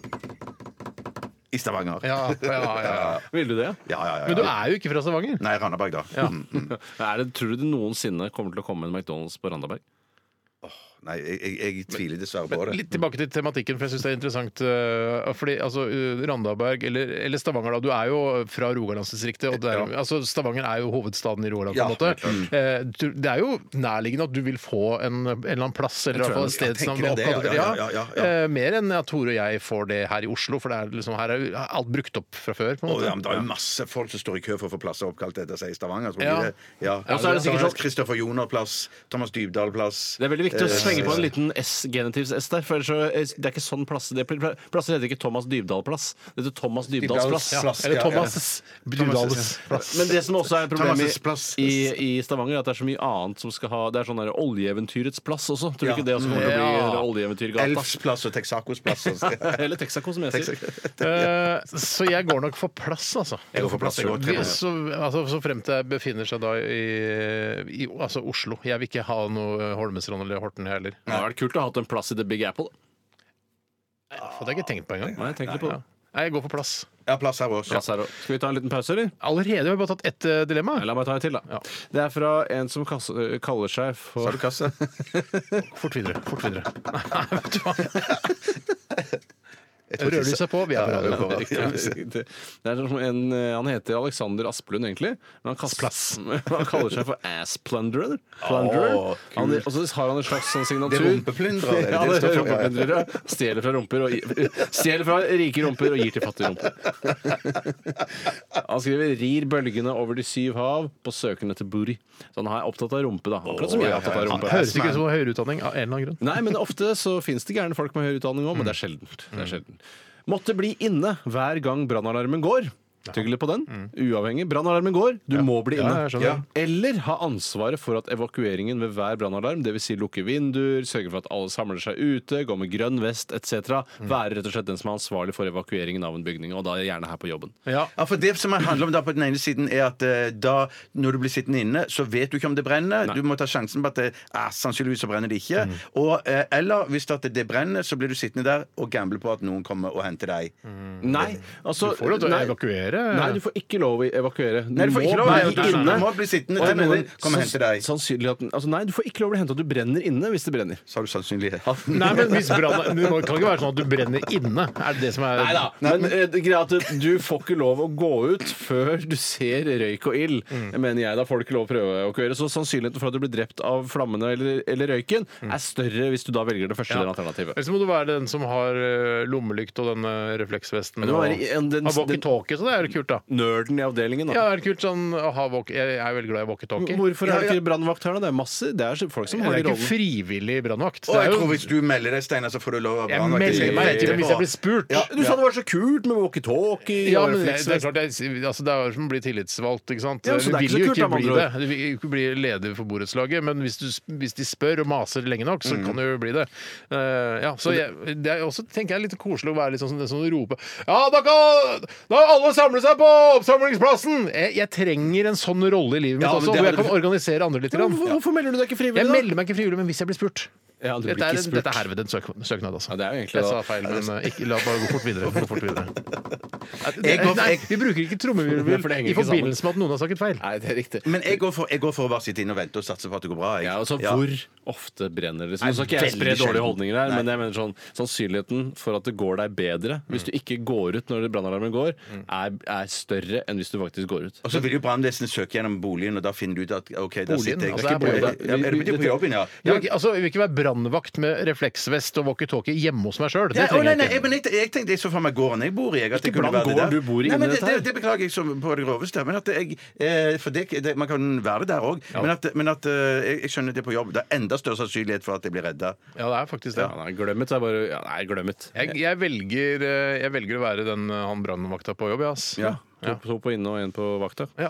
i Stavanger.
Eh, Ja, ja, ja.
Vil du det?
Ja, ja, ja,
Men du
ja.
er jo ikke fra Stavanger.
Nei, Randaberg, da. Mm, mm.
Er det? Tror du det noensinne kommer til å komme en McDonald's på Randaberg?
Nei, jeg, jeg, jeg tviler dessverre på det.
Litt tilbake til tematikken, for jeg syns det er interessant. øh, Fordi altså, øh, Randaberg, eller, eller Stavanger, da. Du er jo fra Rogalandsdistriktet. Og det er, altså, Stavanger er jo hovedstaden i Rogaland,
Ja,
på en måte. Eh, du- Det er jo nærliggende at du vil få en, en eller annen plass, eller i hvert fall et
tror jeg-
stedsnavn.
jeg tenker det,
oppkalt etter-
ja, ja, ja, ja,
Eh, Mer enn at Tore og jeg får det her i Oslo, for det er liksom, her er jo alt brukt opp fra før. på en
Å,
måte.
ja, men det er jo masse folk som står i kø for å få plasser oppkalt etter seg i Stavanger. Tror
Ja.
jeg det. ja.
Ja, så er det sikkert sånn-
Kristoffer Joner-plass, Thomas Dybdahl-plass
Det er veldig viktig å
Eh,
slenge på en liten S, genitivs S der. For ellers så, eh, det er ikke sånn plass. Det, plasser heter ikke Thomas Dybdahl-plass. Det heter Thomas Dybdahls plass.
Dybdahls plass,
Eller
ja,
Thomas Dudales plass.
Men det som også er problemet
Thomas' plass.
i, i Stavanger, er at det er så mye annet som skal ha Det er sånn der oljeeventyrets plass også. Tror du
Ja.
ikke det også kommer til å bli
Ja.
eller oljeeventyrgata?
Elfs plass og Texacos plass. altså. og-
Eller Texaco, som jeg sier.
Eh, Så jeg går nok for plass, altså.
Jeg går for plass, jeg går tre
Vi-
måneder.
Så, altså, så fremt jeg befinner seg da i, i altså Oslo. Jeg vil ikke ha noe Holmestrand eller Horten, jeg heller.
Det hadde vært kult å ha hatt en plass i The Big Apple.
Det hadde jeg ikke tenkt på engang.
Nei, jeg tenker litt på det.
Nei, jeg går for plass.
Ja, plass her også.
Plass her også. Skal vi ta en liten pause, eller?
Allerede har vi bare tatt ett eh, dilemma.
Nei, La meg ta en til, da.
Ja.
Det er fra en som kass- kaller
Har
seg for
du kasse?
Fort videre. Fort videre. Nei, vet du hva. Rødlyset er på. Vi er på radio.
Ja, ja, ja.
det er som en, eh, han heter Alexander Asplund, egentlig. Men han, kaster, han kaller seg for Ass Plunderer. Plunderer.
Å,
han, og så har han en slags sånn signatur.
Det er rumpeplundrer, det er det
Ja,
det
det
står
er
for, ja.
rumpeplundrere. Stjeler fra rumper og gi- Stjeler fra rike rumper og gir til fattige rumper. Han skriver 'rir bølgene over de syv hav på søken etter booty'. Så han er opptatt av rumpe, da. Akkurat som jeg er opptatt av rumpe.
Høres ikke ut som høyere utdanning av en eller annen grunn.
Nei, men ofte så finnes det gærne folk med høyere utdanning òg, men
Mm.
det er sjeldent. Det er sjeldent. Måtte bli inne hver gang brannalarmen går. Tygg litt på den. Uavhengig. Brannalarmen går, du må bli
Mm. Ja,
inne.
jeg skjønner. Ja.
Eller ha ansvaret for at evakueringen ved hver brannalarm, dvs. Si lukke vinduer, sørge for at alle samler seg ute, gå med grønn vest etc.,
Mm.
være rett og slett den som er ansvarlig for evakueringen av en bygning, og da gjerne her på jobben.
Ja.
Ja, for Det som handler om da på den ene siden er at eh, da, når du blir sittende inne, så vet du ikke om det brenner. Du må ta sjansen på at det, ah, sannsynligvis så brenner det ikke.
Mm.
Og, eh, eller hvis det, at det brenner, så blir du sittende der og gamble på at noen kommer og henter deg.
Mm. Nei, altså
Mm. Du får lov til å
nei.
evakuere.
Nei, du får ikke lov å evakuere. Du
Nei, du får ikke
må
lov å
bli
evakuere. Du
inne.
må bli sittende
Og
til
jeg må-
noen kommer og henter deg.
Sannsynligheten Altså, nei, du får ikke lov å bli henta. Du brenner inne hvis det brenner.
Sa du sannsynlig?
Nei, men hvis brann- Det kan ikke være sånn at du brenner inne. Er det det som er
Nei da, men eh, det greia er at du får ikke lov å gå ut før du ser røyk og ild, mener jeg. Da får du ikke lov å prøve å evakuere. Så sannsynligheten for at du blir drept av flammene eller, eller røyken, er større hvis du da velger det første
Ja.
Mm. ja. alternativet.
Ellers må du være den som har eh, lommelykt og den eh, refleksvesten.
Men det må
og
være i- en- den-
har walkietalkie, så det er jo kult, da.
Nerden i avdelingen,
Ja,
da.
det er kult sånn å ha walkie Jeg er veldig glad i walkietalkie.
Hvorfor er det ikke brannvakt her, da? Det er masse, det er folk som
Det
har
er
de
ikke
rollene.
frivillig brannvakt.
Og
Det er
jeg
jo-
tror Hvis du melder deg, Steinar, så får du lov av
Jeg
brannvakten.
melder meg
ikke
ikke hvis jeg blir spurt.
Ja,
Du sa det var så kult med walkietalkie
Ja,
og
men det, det er
refleksvest.
klart, det er, altså, det er jo som å bli tillitsvalgt, ikke sant.
Ja,
du
så det er
vil
ikke
jo
så kult,
ikke
da,
bli
med andre
det. Du vil ikke bli leder for borettslaget, men hvis, du, hvis de spør og maser lenge nok,
Mm.
så kan du jo bli det. Eh, ja, så jeg, det er jo også tenker jeg litt koselig å være litt sånn som den som roper Ja, da kan da alle samle seg på oppsamlingsplassen! Jeg, jeg trenger en sånn rolle i livet mitt
Ja, men
også,
det
hvor jeg
hadde-
kan organisere andre litt.
Men
grann.
Hvorfor, hvorfor melder du deg ikke frivillig,
Jeg
da?
melder meg ikke frivillig, men hvis jeg blir spurt.
Ja, du blir
Dette er,
ikke spurt.
dette er herved en søk, søknad, altså.
Ja, det er jo egentlig
jeg
det, da.
sa feil, men eh, ikke, la bare gå fort videre. Gå fort videre.
Jeg går-
Nei,
jeg-
vi bruker ikke
Ja, for det
trommevirvel
henger
i
ikke sammen.
forbindelse med at noen har sagt feil.
Nei, det er riktig.
Men jeg går, for, jeg går for å bare sitte inne og vente og satse på at det går bra. Jeg.
Ja, altså
Ja.
Hvor ofte brenner det? Liksom. Nå skal ikke
Nei,
jeg spre
veldig
dårlige
sjelden.
holdninger her, men jeg mener sånn sannsynligheten for at det går deg bedre hvis du ikke går ut når brannalarmen går, er, er større enn hvis du faktisk går ut.
Og så vil jo brannvesenet søke gjennom boligen, og da finner du ut at OK, der
Boligen?
sitter jeg.
Altså, det er
Ja,
boligen.
ja, det betyr på jobben, ja.
Du vil ikke, altså, jeg vil ikke være brannvakt med refleksvest og walkietalkie hjemme hos meg sjøl. Det
Nei, å, nei,
trenger
nei,
jeg
jeg,
ikke.
men jeg, jeg tenkte jeg så for meg gården jeg bor i. Jeg, at jeg
Ikke
kunne være
blant
det der.
gården du bor i
Nei,
inni
men det,
dette
det,
her.
det beklager jeg som på det groveste. Men at jeg, eh, for det, det, man kan være der òg. Men at, men at eh, jeg, jeg skjønner det på jobb. Det er enda større sannsynlighet for at jeg blir redda.
Ja, det er faktisk det.
Ja, nei, glemmet er bare ja, Nei, glemmet.
Jeg, jeg, velger, eh, jeg velger å være den eh, han brannvakta på jobb, ja, ass.
Ja.
To, to på inne og en på vakta.
Ja.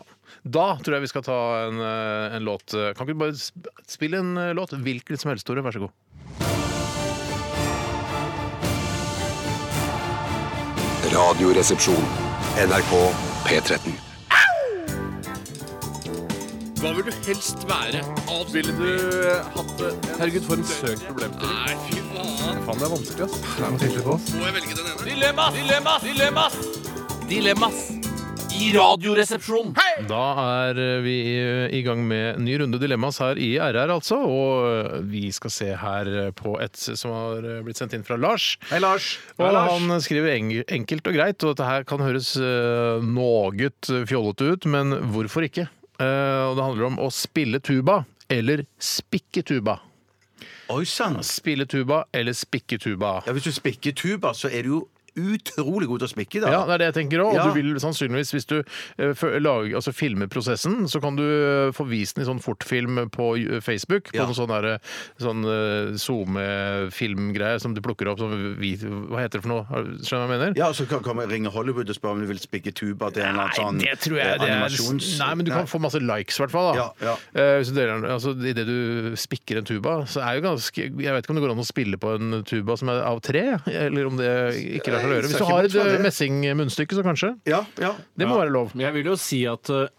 Da tror jeg vi skal ta en, eh, en låt. Kan ikke du bare sp- spille en eh, låt? Hvilken som helst, Tore. Vær så god.
Radioresepsjon. NRK P13.
Da er eh, vi i gang med ny runde dilemmas her i RR, altså. Og vi skal se her eh, på et som har eh, blitt sendt inn fra Lars.
Hei, Lars.
Og han skriver eng- enkelt og greit, og dette her kan høres eh, noe fjollete ut, men hvorfor ikke? Eh, og det handler om å spille tuba eller spikke tuba.
Oi sann.
Spille tuba eller spikke tuba.
Ja, hvis du spikker tuba, så er du jo utrolig god til å spikke, da.
Ja, det er det jeg tenker òg. Og
Ja.
du vil sannsynligvis, hvis du eh, fø- lager, altså filmer prosessen, så kan du eh, få vist den i sånn fortfilm på eh, Facebook. På
Ja.
noen sånn derre sånn eh, SoMe-filmgreier som du plukker opp som vi, Hva heter det for noe? Har du- Skjønner du hva jeg mener?
Ja, og så kan, kan man ringe Hollywood og spørre om du vil spikke tuba til en eller annen sånn eh, animasjons...
Nei, men du kan få masse likes, i hvert fall. da.
Ja, ja.
Eh, hvis du deler den- altså, Idet du spikker en tuba, så er jo ganske Jeg vet ikke om det går an å spille på en tuba som er av tre, eller om det ikke lar seg
Jeg
gjøre. Hvis
ser ikke
du har
bort
et
fra
eh,
det.
messingmunnstykke, så kanskje.
Ja, ja.
Det må være lov.
Men jeg vil jo si at øh,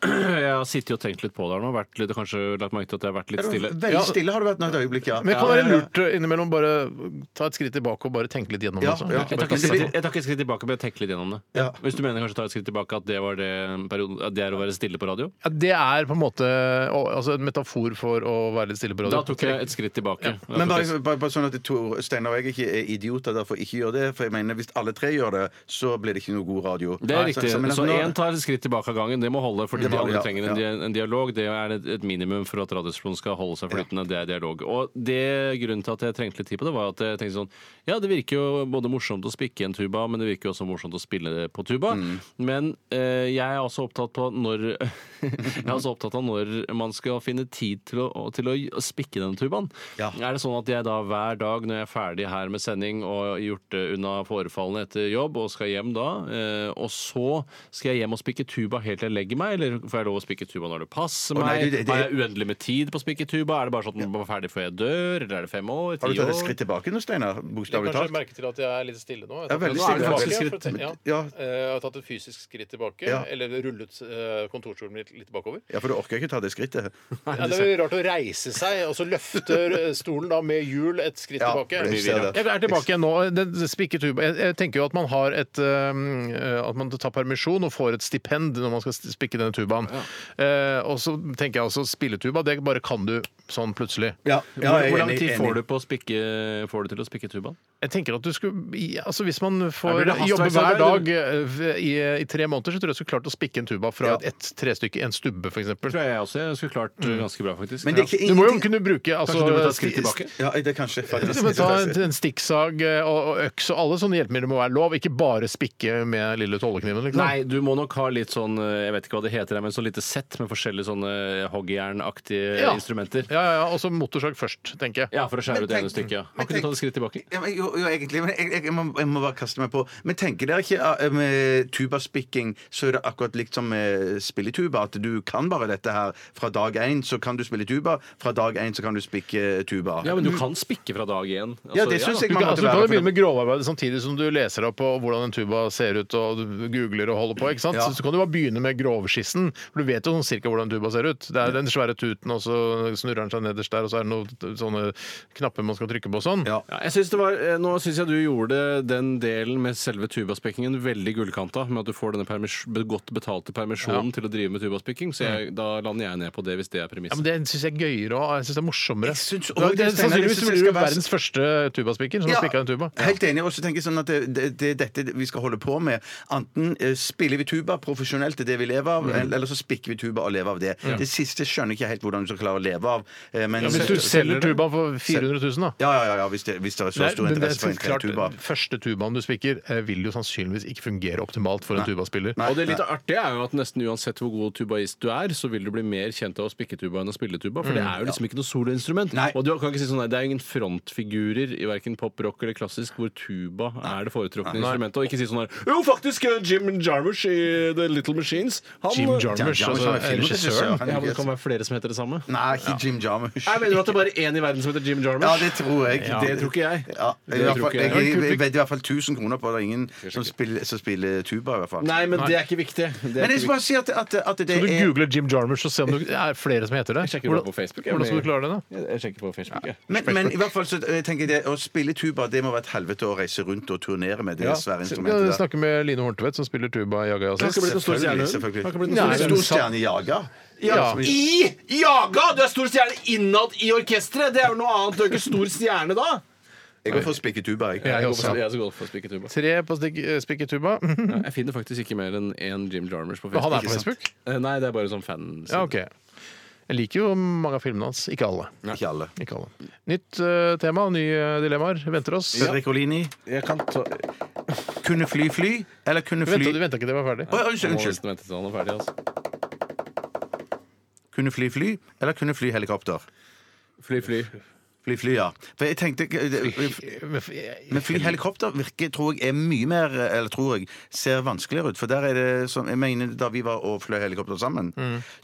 jeg har sittet og tenkt litt på det her nå. Vært litt, kanskje lagt merke til at jeg har vært litt stille.
Veldig stille har du vært nå et øyeblikk, ja.
Men det kan
Ja,
være
ja, ja.
lurt eh, innimellom bare ta et skritt tilbake og bare tenke litt gjennom det. altså.
Ja, ja.
også.
Jeg tar ikke et skritt, jeg tar ikke et skritt tilbake, men jeg tenker litt gjennom det.
Ja.
Hvis du mener kanskje ta et skritt tilbake at det, var det, perioden, at det er å være stille på radio?
Ja, det er på en måte å, altså en metafor for å være litt stille på radio.
Da tok jeg et skritt tilbake. Da
Men
tok
bare,
jeg-
bare, bare sånn at Tor Steinar og jeg ikke er idioter, derfor ikke gjør det. For jeg mener, hvis alle tre gjør det, så blir det ikke noe god radio.
Det er riktig.
men at
Så
nå-
én tar et skritt tilbake av gangen. Det må holde, fordi
Det
de
må-
andre
ja,
trenger
ja.
en, dia- en dialog. Det er et, et minimum for at Radioresepsjonen skal holde seg flytende. Det er dialog. Og det grunnen til at jeg trengte litt tid på det, var at jeg tenkte sånn Ja, det virker jo både morsomt å spikke en tuba, men det virker jo også morsomt å spille det på tuba.
Mm.
Men eh, jeg er også opptatt på når Jeg er også opptatt av når man skal finne tid til å, til å spikke den tubaen.
Ja.
Er det sånn at jeg da hver dag når jeg er ferdig her med sending og gjort eh, unna forefallene etter jobb og skal hjem da, eh, og så skal jeg hjem og spikke tuba helt til jeg legger meg, eller får jeg lov å spikke tuba når det passer
Å, nei,
meg?
du, det- det-
Har jeg uendelig med tid på å spikke tuba? Er det bare sånn at den er ferdig før jeg dør, eller er det fem år?
Har du
Ti
tatt
år?
et skritt tilbake nå, Steinar? Bokstavelig
Kanskje
talt?
merke til at jeg er litt stille nå. Jeg
Ja,
har tatt
veldig
et
stille.
tilbake,
Veldig
for
stille.
å tenke- ja.
Ja.
Eh, Jeg har tatt et fysisk skritt tilbake,
Ja.
eller rullet eh, kontorstolen litt, litt bakover.
Ja, for du orker ikke ta det skrittet.
Ja, det er jo rart å reise seg, og så løfter eh, stolen da med hjul et skritt
Ja,
tilbake.
det ser jeg det.
Jeg er tilbake igjen nå. Det- det spikker tuba. Jeg, jeg tenker jo at man har et um, eh, At man tar permisjon og får et stipend når man skal st- spikke denne tubaen. Eh, og så tenker jeg også spilletuba, det bare kan du sånn plutselig.
Ja, ja,
Hvor-
jeg er
Hvor lang
enig-
tid
enig.
får du, på å spikke, får du til å spikke tubaen?
Jeg tenker at du skulle i- Altså Hvis man
Ja, blir
får
det
jobbe hver
hastverksarbeid,
dag eh, i, i tre måneder, så tror jeg jeg skulle klart å spikke en tuba fra
Ja.
et, et trestykke, en stubbe f.eks.
Tror jeg også jeg skulle klart eh, ganske bra, faktisk.
Mm. Men det er ikke
Du må jo
ingenting
kunne bruke altså,
Kanskje du bør ta et skritt
sti-
tilbake?
Ja, det er kanskje
Du
faktisk
må ta en, en stikksag eh, og, og øks og alle sånne hjelpemidler må være lov. Ikke bare spikke med lille tollekniven. Liksom.
Nei, du må nok ha litt sånn eh, Jeg vet ikke hva det heter, her, men sånn lite sett med forskjellige sånne eh, hoggjernaktige eh,
Ja.
instrumenter.
Ja, ja, ja, Og så motorsag først, tenker jeg.
Ja, for å skjære
Men
ut det ene
tenk-
stykket. ja. Har ikke
men
du tatt et skritt tilbake?
Ja, men, jo, jo, egentlig, men jeg, jeg, jeg, må, jeg må bare kaste meg på. Men tenker dere ikke eh, med tubaspikking så er det akkurat likt som med spilletuba? At du kan bare dette her fra dag én, så kan du spille tuba. Fra dag én så kan du spikke tuba.
Ja, men du kan spikke fra dag én.
Ja, det synes jeg
Du
man
kan,
måtte
altså, du kan
være
jo
for
begynne med grovarbeidet samtidig som du leser deg på hvordan en tuba ser ut og du googler og holder på. ikke sant?
Ja.
Så, så kan du bare begynne med grovskissen, for du vet jo sånn cirka hvordan en tuba ser ut. Det er den svære tuten, og så snurrer den seg nederst der, og så er det noen t- sånne knapper man skal trykke på og sånn.
Ja.
Ja, jeg synes det var, eh, nå syns jeg du gjorde den delen med selve tubaspikkingen veldig gullkanta, med at du får denne permis- be- godt betalte permisjonen til å drive med tubaspikking. Så jeg, da lander jeg ned på det, hvis det er
Ja,
premisset.
men Det syns jeg er gøyere og jeg synes det er morsommere.
Jeg synes også
det,
det,
er
Steinar, jeg
sannsynligvis
synes det
blir du
skal være-
verdens første tubaspikker som har spikka en tuba.
Helt enig. Og så tenker jeg sånn at det, det, det er dette vi skal holde på med. Enten eh, spiller vi tuba profesjonelt, det er det vi lever
Mm.
av, eller- eller så spikker vi tuba og lever av det. Det siste skjønner jeg ikke helt hvordan du skal klare å leve av. eh, Men,
Hvis du selger tubaen for 400 000, da.
ja, ja, ja, ja, hvis, det, hvis det er så
Nei,
stor
men det er
interesse for en
så klart,
tuba.
Første tubaen du spikker, eh, vil jo sannsynligvis ikke fungere optimalt for en tubaspiller.
Nei.
Og
Og det litt artige er jo at nesten uansett hvor god tubaist du er, så vil du bli mer kjent av å spikke tuba enn å spille tuba, for det er jo liksom ikke noe soloinstrument.
Mm. Nei.
Og du kan ikke si sånn nei, det er ingen frontfigurer i verken pop, rock eller klassisk hvor tuba er det foretrukne instrumentet, og ikke si sånn her Jo, faktisk, eh, Jim Jarmusch i The Little Machines han,
Jim
Ja,
Jarmusch,
Jarmusch,
altså
han er filmregissør.
regissøren.
men det kan være flere som heter det samme.
Nei, ikke Jim Jarmusch.
Jeg mener du at det er bare én i verden som heter Jim Jarmusch?
Ja, det tror jeg.
Ja, det tror ikke jeg.
Ja,
Det
i hvert
tror
fall,
ikke
jeg,
jeg.
jeg, jeg vet i hvert fall 1000 kroner på at det er ingen som spiller, som spiller tuba, i hvert fall.
Nei, men det er ikke viktig. Det er
Men jeg
ikke
skal bare si at, at, at det
så du
er
googler Jim Jarmusch og ser om det er flere som heter det?
Jeg sjekker det på Facebook, jeg,
hvordan skal
men-
du klare det, da?
viktig. Jeg sjekker på Facebook, jeg.
men, men i hvert fall så eh, tenker jeg det, å spille tuba det må være et helvete å reise rundt og turnere med det svære instrumentet.
Ja,
der.
snakke med Line Horntvedt, som spiller tuba i Jaga
Han skal bli den store
Selvfølgelig,
stjernen.
selvfølgelig.
Han skal bli den
Ja,
store
en
stjernen.
Stor stjerne jager.
Ja. I Jaga! Du er stor stjerne innad i orkesteret! Det er jo noe annet. Du er ikke stor stjerne da.
Jeg går for å spikke tuba, jeg.
Jeg også.
Jeg skal gå for spiketuba.
Tre på stik- eh, spikke tuba. Mhm.
Jeg finner faktisk ikke mer enn én Jim Jarmers på
Og
Facebook.
han er på
ikke sant?
Facebook?
Eh, Nei, det er bare sånn fan.
Ja, OK. Jeg liker jo mange av filmene hans. Ikke alle.
Ikke alle.
Ikke alle. Nytt eh, tema, nye dilemmaer venter oss. Vent,
Ricolini.
Jeg kan ta
Kunne fly fly, eller kunne fly
du venta ikke til jeg var ferdig?
Oi, unnskyld,
Jeg må
unnskyld.
nesten vente til han er ferdig. Altså.
Kunne fly fly, eller kunne fly helikopter?
Fly, fly.
Fly fly, ja. For jeg tenkte
Eh, Men f- jeg-
Men flyhelikopter virker, tror jeg, er mye mer Eller tror jeg, ser vanskeligere ut. For der er det sånn Jeg mener, da vi var og fløy helikopter sammen,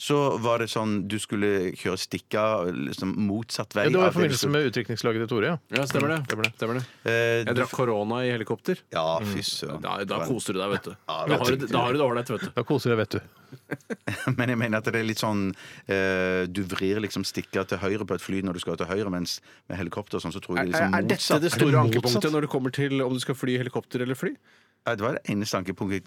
så var det sånn du skulle kjøre stikka liksom motsatt vei.
Ja, det var i
av du
forbindelse
skulle-
med utrykningslaget til Tore, ja.
Ja, stemmer det.
Stemmer det.
Stemmer det.
Eh,
Jeg
du-
drakk korona i helikopter.
Ja, fy søren.
Da, da koser du deg, vet du.
Ja,
Da har du da har du det ålreit, vet du.
Da koser jeg, vet du.
Men jeg mener at det er litt sånn eh, Du vrir liksom stikka til høyre på et fly når du skal til høyre, mens med helikopter og sånn, så tror jeg det er liksom
Er dette
motsatt.
det
Er det
store
motsatt?
ankepunktet når det kommer til om du skal fly helikopter eller fly?
Ja, Det var det eneste ankepunktet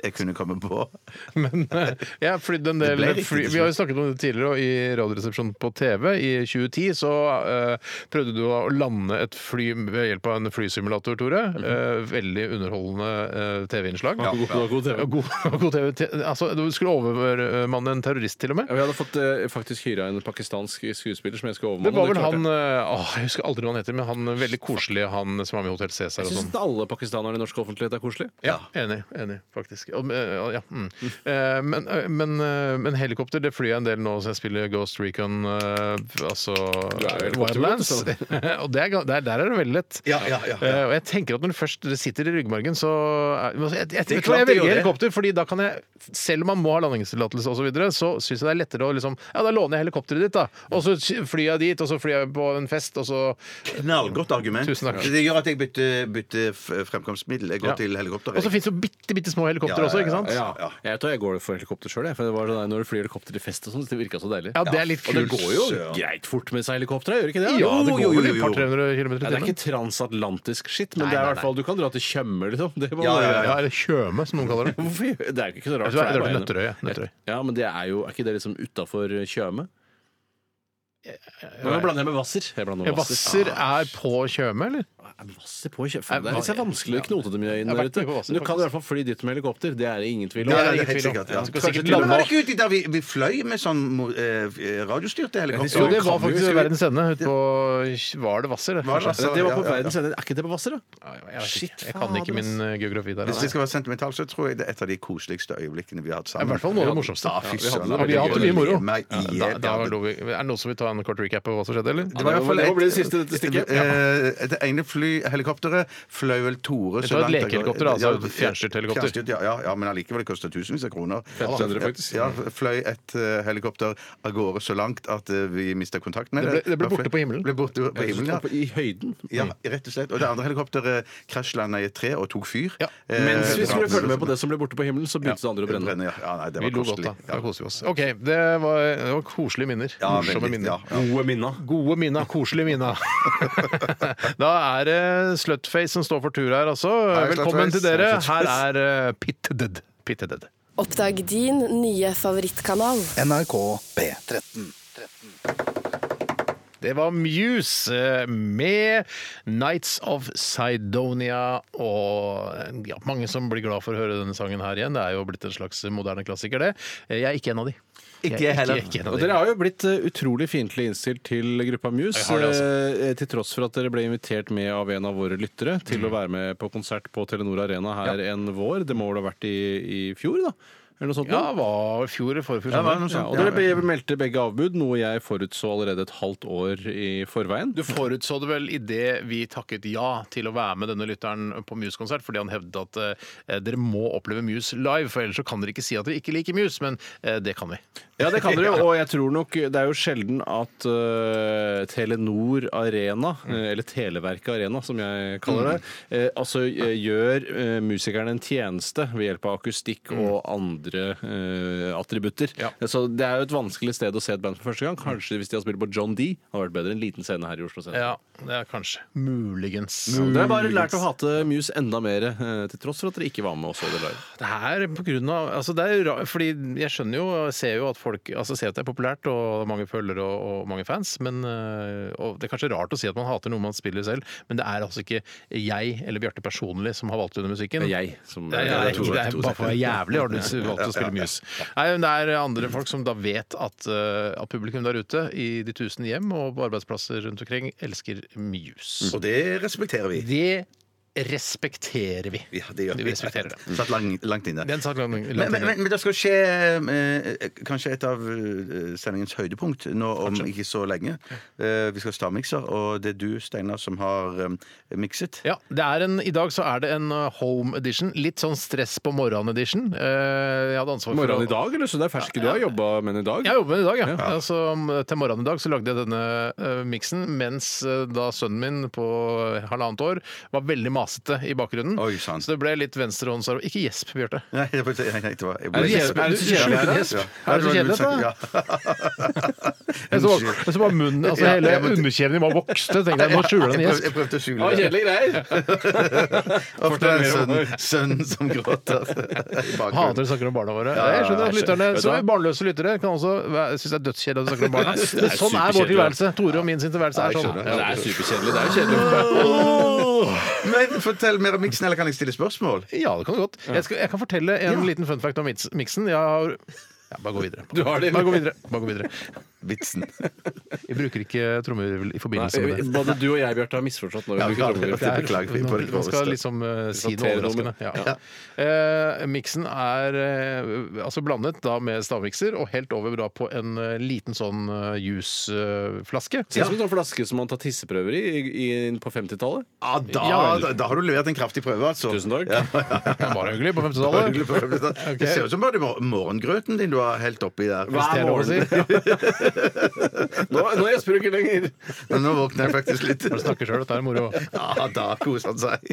jeg kunne komme på.
Men eh, jeg har flydd en
Det
del
ble riktig
fly,
til
Vi har jo
slutt.
snakket om det tidligere og i Radioresepsjonen på TV. I 2010 så eh, prøvde du å lande et fly ved hjelp av en flysimulator, Tore.
Mhm.
Eh, veldig underholdende eh, TV-innslag.
Ja, god- god- god TV.
Ja, God, god TV. Te- Altså, du skulle overmanne en terrorist, til og med.
Ja, Vi hadde fått eh, faktisk hyra en pakistansk skuespiller som jeg skal
Det
overmanne.
var vel
klarte jeg.
han eh, åh, Jeg husker aldri hva han heter, men han veldig koselige han som var med i Hotell Cæsar og
Jeg
sånn.
syns alle pakistanere i norsk offentlighet er koselig.
Ja, enig. enig, faktisk. Og, eh, ja, mm. Eh, men, eh, men, eh, men helikopter det flyr jeg en del nå så jeg spiller Ghost Recon, eh, altså
Du er jo
Wildlands.
helikopter,
og det er, ga- der, der er det veldig lett.
Ja, ja, ja, ja.
Eh, og jeg tenker at når det først sitter i ryggmargen, så er, altså, jeg, jeg, jeg,
klart
tror jeg
det gjør
velger
det.
helikopter, fordi da kan jeg, selv om man må ha landingstillatelse osv., så, videre, så syns jeg det er lettere å liksom Ja, da låner jeg helikopteret ditt, da. Og så flyr jeg dit, og så flyr jeg på en fest, og så
Knallgodt argument.
Tusen takk.
Det gjør at jeg bytter, bytter f- fremkomstmiddel. Jeg går
Ja.
til helikopter.
Og så fins det jo bitte, bitte små helikopter
Ja, ja,
også, ikke sant?
Ja, Jeg vet hva, jeg går for helikopter sjøl. For det var sånn der, når du flyr helikopter til fest og sånn, det virka så deilig.
Ja, det er litt
Og det
kult.
går jo greit fort med seg helikopter, gjør det ikke det?
Ja, det
Jo,
går
jo,
jo,
jo,
vel i et par
jo.
300 km i
Ja, det er
timen.
ikke transatlantisk skitt, men
Nei,
det er i
nei,
hvert fall, du kan dra til Tjøme, liksom. Det, må
Ja,
du
ja,
gjøre.
Ja, eller kjøme, som noen kaller det.
Hvorfor gjør- det er jo ikke så
Jeg
rart.
tror jeg
for det
drar til
er
Nøtterøy. jeg.
bare en-
Nøtterøy.
Ja, men det er jo, er ikke det liksom utafor Tjøme? Nå blander jeg med Hvasser. Jeg blander
Ja,
med Hvasser.
Hvasser er på Tjøme, eller?
Er Hvasser på Tjøme? Det er litt
Hvasser-
vanskelig å knote dem inn
Jeg har
der
vært
ute.
mye på Hvasser,
Men du kan
faktisk.
i hvert fall fly dit med helikopter. Det er det ingen tvil
Ja, ja,
Det
om.
er
det er
ingen
helt
tvil om.
sikkert. Ja.
Du skal
Kanskje
sikkert
til og
Men
lande
var det
opp.
ikke uti der vi, vi fløy med sånn mo- eh, radiostyrte helikopter?
Jo, det
Kan
var
vi-
faktisk
skal vi-
Verdens ende ute på Var det Hvasser? det,
Var det
kanskje?
Hvasser?
Det var
Ja,
på
ja, ja.
verdens ende. Er ikke det på Hvasser, da?
Ja, Jeg, vet
Shit,
ikke. jeg kan ikke min eh, geografi der.
Hvis
nei.
det skal være sentimentalt, så tror jeg det er et av de koseligste øyeblikkene vi har hatt
Det
sammen.
er I hvert fall noe av det morsomste.
Ja, fy
vi hadde
søren.
det, vi har hatt det mye moro.
Jeg meg i
Ja, da, da
hjel.
lo vi, er det noen som vil ta en kort recap på hva som skjedde, eller?
Det var i hvert fall
Det må bli det
et-
siste dette stikket.
eh, Det ene flyhelikopteret fløy vel Tore
Dette var et lekehelikopter, altså, et fjernstyrt helikopter.
fjernstyrt, ja, ja, ja, men allikevel koster tusenvis av kroner.
500 faktisk.
Ja, fløy et eh, helikopter av gårde så langt at eh, vi mista kontakt med det.
Det ble- det ble borte
fløy-
på himmelen.
Ble borte på himmelen, ja. Eh,
Oppe I høyden.
Ja, rett og slett. Og det andre helikopteret krasjlanda i et tre og tok fyr.
Ja.
Eh,
Mens vi skulle følge med på det som ble borte på himmelen, så begynte det andre å brenne.
Brenne, ja. ja, nei, det var
Vi lo godt,
kostelig.
da. Da koser vi oss. OK. Det var, det var koselige minner.
Ja,
Morsomme
veldig, ja,
minner.
ja.
Gode minna.
Gode mina, koselige mina. da er det Slutface som står for tur her, altså.
Hei,
Velkommen
Slutface.
til
Hei,
dere. Her
Slutface.
er eh, Pitted. Pitted.
Oppdag din nye favorittkanal.
NRK P13.
Det var Muse eh, med Nights of Sidonia. Og ja, mange som blir glad for å høre denne sangen her igjen. Det er jo blitt en slags moderne klassiker, det. Eh, Jeg er ikke en av de. Jeg er Ikke
heller.
ikke en av
Og
de.
dere har jo blitt eh, utrolig fiendtlig innstilt til gruppa Muse.
Jeg har det, altså.
eh, Til tross for at dere ble invitert med av en av våre lyttere til
Mm.
å være med på konsert på Telenor Arena her en vår. Det må vel ha vært i, i fjor, da? Eller noe sånt?
Ja,
nå?
var fjor eller forfjor.
Ja, det var
sommer.
noe sånt,
og dere be- meldte begge avbud, noe jeg forutså allerede et halvt år i forveien.
Du forutså det vel idet vi takket ja til å være med denne lytteren på Muse-konsert, fordi han hevdet at eh, dere må oppleve Muse live, for ellers så kan dere ikke si at dere ikke liker Muse, men eh, det kan vi.
Ja, det kan dere, jo, og jeg tror nok Det er jo sjelden at eh, Telenor Arena,
Mm.
eh, eller Televerket Arena, som jeg kaller det, eh, altså eh, gjør eh, musikerne en tjeneste ved hjelp av akustikk og andre eh, attributter.
Mm. Ja. Mm.
Så det er jo et vanskelig sted å se et band for første gang. Kanskje hvis de har spilt på John D. Hadde vært bedre enn en liten scene her i Oslo sentrum.
Ja, det er kanskje. Muligens.
Dere har bare lært å hate Muse enda mer, eh, til tross for at dere ikke var med og så det live.
Det er på grunn av altså det er ra Fordi jeg skjønner jo og ser jo at folk altså ser at det er populært og mange følgere og, og mange fans, men øh, og det er kanskje rart å si at man hater noe man spiller selv, men det er altså ikke jeg eller Bjarte personlig som har valgt denne musikken.
Det er jeg som
Det er, det er,
jeg tror-
det er bare for å være jævlig har du s- valgt å spille Muse. Nei, men det er andre folk som da vet at, øh, at publikum der ute, i de tusen hjem og på arbeidsplasser rundt omkring, elsker Muse.
Og det respekterer vi.
Det respekterer vi.
Ja, det gjør
Vi respekterer det.
Satt lang, langt inne.
Den saken lang, lang
Men, men,
tid.
men, men det skal skje eh, kanskje et av eh, sendingens høydepunkt nå om ikke så lenge. Eh, vi skal ha stavmikser, og det er du, Steinar, som har eh, mikset.
Ja, det er en, I dag så er det en uh, home edition. Litt sånn stress på morgenen-edition. jeg hadde ansvar for å-
Morgenen i dag, eller? Så det er ferske du har jobba med i dag?
Jeg jobber med det i dag, ja. Altså, om, eh, til morgenen i dag så lagde jeg denne uh, miksen, mens eh, da sønnen min på eh, halvannet år var veldig masete i bakgrunnen.
Oi, sant.
Så det ble litt venstrehåndsarbeid. Ikke gjesp, Bjarte.
Nei, det var, nei, nei, det var, jeg ble-
Er det så kjedelig- er det så kjedelig her, da?
Ja.
Er det så kjedelig, da?
Ja.
Jeg så, bare- jeg så bare munnen, altså
Ja,
Hele
jeg måtte-
underkjeven min bare vokste. tenkte jeg, Nå skjuler den
Jeg prøvde,
gjesp.
jeg prøvde å skjule det.
greier!
Ofte er det sønnen sønnen som gråter i
Hater
bakgrunnen.
å snakke om barna våre.
ja, ja,
jeg skjønner at
jeg
lytterne,
Vet du
så
hva?
Barnløse lyttere kan også være- synes det er dødskjedelig at du snakker om barna.
Det er
Men sånn er vår
superkjedelig.
tilværelse. Tore og min sin tilværelse er
jeg
sånn.
skjønner.
Det er superkjedelig. Det er jo kjedelig.
Men fortell mer om miksen, eller kan jeg stille spørsmål?
Ja, det kan du godt. Jeg, skal, jeg kan fortelle en liten fun fact om mix- miksen. Jeg har ja, bare gå videre.
Du har det,
bare gå videre. Bare gå videre.
Vitsen.
Jeg bruker ikke trommevirvel i forbindelse med det.
Nei, Både du og jeg, Bjarte, har misforstått når vi bruker
det er-
trommevirvel.
beklager vi på det
Man skal
groveste.
liksom eh, si noe
Notere noe
overraskende.
med-
Ja. Eh, miksen er eh, altså blandet da med stavmikser og helt over da på en eh, liten sånn eh, juseflaske.
Ser ut som en sånn flaske som man tar tisseprøver i, i, i på 50-tallet.
Ja, da,
Ja,
da,
vel.
har du levert en kraftig prøve, altså.
Tusen takk.
Det var hyggelig på
Det
50-tallet.
ser ut som bare mor- morgengrøten din du har helt oppi der.
Hvis det er lov å si.
Nå, nå gjesper du ikke lenger!
Men Nå våkner jeg faktisk litt.
Når du snakker sjøl, dette er moro.
Ja, da koser han seg.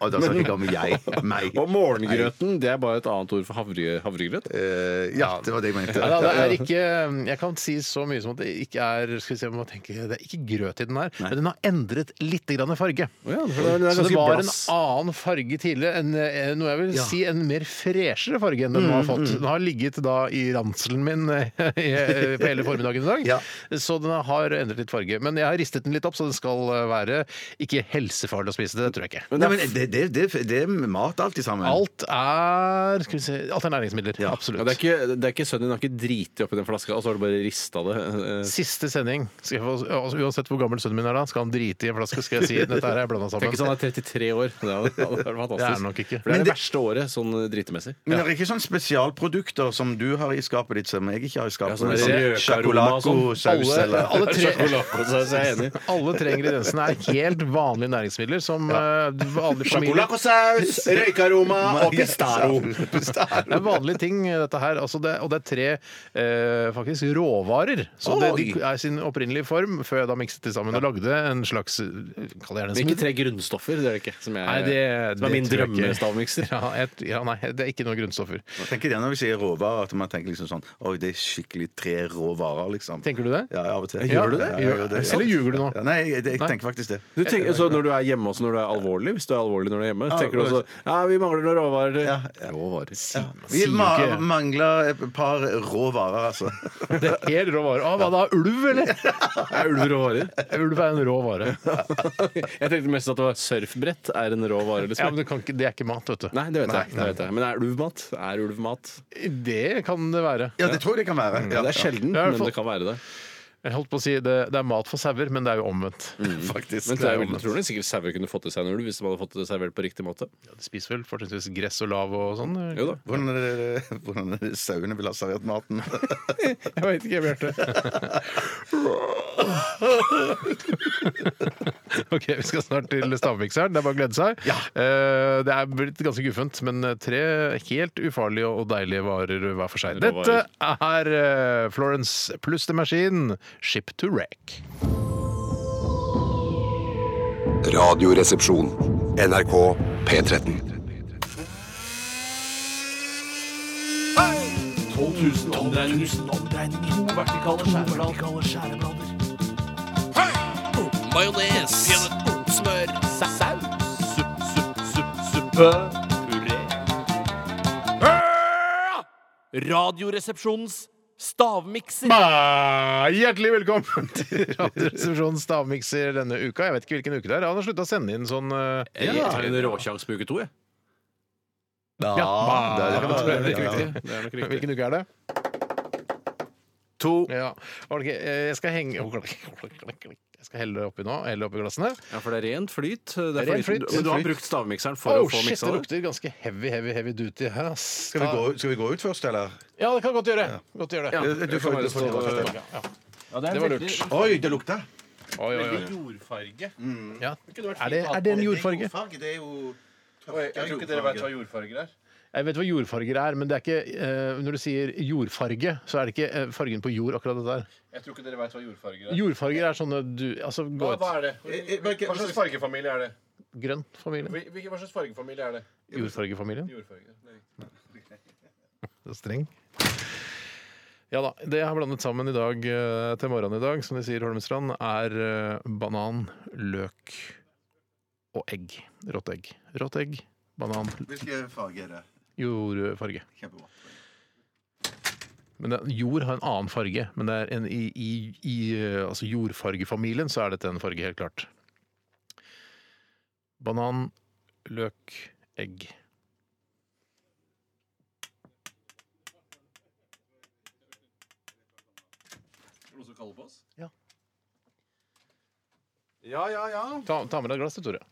Og da snakker jeg om jeg. Meg.
Og morgengrøten det er bare et annet ord for havre, havregrøt.
Eh, ja, det var det jeg mente.
Nei, da, det er ikke, eh, jeg kan si så mye som at det ikke er skal vi se, om jeg tenker, det er ikke grøt i den her, men den har endret litt grann farge.
Å ja, for det er- det er
Så det
ganske
var en
blass.
annen farge tidligere, en, eh, noe jeg vil si en mer freshere farge enn den
Mm,
nå har fått. Den har ligget da i ranselen min eh, i- på hele formiddagen i dag,
Ja.
så den har endret litt farge. Men jeg har ristet den litt opp, så den skal eh, være ikke helsefarlig å spise. Det tror jeg ikke.
Nei, men det, det, det, det er mat alt i sammen.
Alt er skal vi se, alt er næringsmidler.
Ja.
Absolutt.
Ja, det er ikke, det er ikke sønnen din har ikke driti oppi den flaska, og så har du bare rista det. eh,
Siste sending. Skal jeg få, altså, uansett hvor gammel sønnen min er da, skal han drite i en flaske. Skal jeg si dette her er blanda sammen.
Tenk sånn. hvis han er 33 år. Det hadde det hadde vært fantastisk.
Det er han nok ikke.
For det
Men
er det
det-
verste året sånn dritemessig.
Men det er ikke sånne spesialprodukter som du har i skapet ditt, som jeg ikke har i skapet.
Ja, sånn
Sånn
røkaroma og sånn.
sjokolacosaus
Alle-
eller
alle tre-
Sjokoladesaus, jeg er enig.
Alle tre ingrediensene er helt vanlige næringsmidler som eh, vanlige familier
Sjokoladesaus, røykaroma
det er vanlige ting, dette her. Altså det, og det er tre eh, faktisk råvarer. Så det, de er i sin opprinnelige form, før jeg da mikset de sammen og lagde en slags eh, Kall det gjerne en
Men ikke
smoothie.
tre grunnstoffer, det er det ikke. Som, jeg,
Nei, det-
som er
det
min
tror jeg ikke.
drømmestavmikser.
Ja, et, ja, nei, det er ikke noe grunnstoffer.
Tenker det når vi sier råvarer, at man tenker liksom sånn Oi, det er skikkelig tre rå grå varer, liksom.
Tenker du det?
Ja, av og til.
Gjør du det?
Ja, jeg gjør det.
Eller ljuger du nå?
Ja, nei, jeg, jeg tenker faktisk det.
Du tenker, så når du er hjemme også når du er alvorlig, hvis du er alvorlig når du er hjemme, tenker du også ja, vi mangler noen råvarer. Råvarer.
Vi
Sier
ma
ikke.
mangler et par rå varer, altså.
Det er helt rå vare. Å, hva da? Ulv, eller?
Er ulv råvarer?
Ulv er en rå vare.
Jeg tenkte mest at det var surfbrett er en råvare.
Ja, men
Liksom.
det, kan ikke, det er ikke mat, vet du.
Nei, det vet, jeg, det vet jeg. Men er ulv mat? Er ulv mat?
Det kan det være.
Ja, det tror jeg det kan være. Ja,
Mm, Det er sjelden,
Ja, i hvert
men
fall-
det kan være det.
Jeg holdt på å si det, det er mat for sauer, men det er jo omvendt.
faktisk.
Mm. Men det er, jo- tror du sikkert sauer kunne fått i seg en ulv hvis de hadde fått det servert på riktig måte?
Ja, de spiser vel fortrinnsvis gress og lav og sånn?
Jo da.
Hvordan er det, hvordan er det sauene vil ha servert maten?
Jeg veit ikke, Bjarte. ok, vi skal snart til stavmikseren. Det er bare å glede seg. Eh, Det er blitt ganske guffent, men tre helt ufarlige og deilige varer hver for seg. Dette er eh, Florence pluss The Machine, Ship to Wreck.
Radioresepsjon. NRK P13.
12 000 omdreininger. To vertikale skjæreblader. Majones. Smør. Saus. Supp, supp, supp, suppe. Puré. Radioresepsjonens stavmikser.
Ah, Hjertelig velkommen til Radioresepsjonens stavmikser denne uka. Jeg vet ikke hvilken uke det er. Han har slutta å sende inn sånn eh,
Jeg tar en råsjanse på uke to, jeg.
Ja, det er-
det er ikke
ja, ja.
riktig. Hvilken uke er det?
To.
Ja. Ok, eh, jeg skal henge Jeg skal helle oppi nå. Helle oppi glassene.
Ja, for det er rent flyt. Det er
Ren
flyt.
flyt.
Men du har brukt stavmikseren for
Oh,
å få
shit,
miksa
det
det?
lukter ganske heavy, heavy, heavy duty her, ass.
Skal vi, gå, skal vi gå ut først, eller?
Ja, det kan godt gjøre. Godt gjøre det.
Du får, du får gå først,
Ja, ja.
det,
Det var lurt.
Oi, det lukta!
Oi, oi, oi.
jordfarge.
Ja. Er, det, er det en jordfarge?
Det er jo
Jeg tror ikke dere vet hva jordfarger er.
Jeg vet hva jordfarger er, men det er ikke, eh, når du sier jordfarge, så er det ikke eh, fargen på jord, akkurat det der.
Jeg tror ikke dere vet hva jordfarger Eh,
Jordfarger er sånne du Altså, gå ut.
er det? Hva slags fargefamilie er det?
Grønn familie.
Hva slags fargefamilie er det?
Jordfargefamilien. Så streng. Ja da. Det jeg har blandet sammen i dag eh, til morgenen i dag, som de sier i Holmestrand, er eh, banan, løk og egg. Rått egg. Rått egg, banan,
Hvilken farge er det?
jordfarge.
Kjempebra.
Men det, jord har en annen farge, men det er en, i, i, i eh, altså jordfargefamilien så er dette en farge, helt klart. Banan, løk, egg.
Noen som kaller på oss?
Ja.
Ja, ja, ja.
Ta, ta med deg et glass, du, Tore.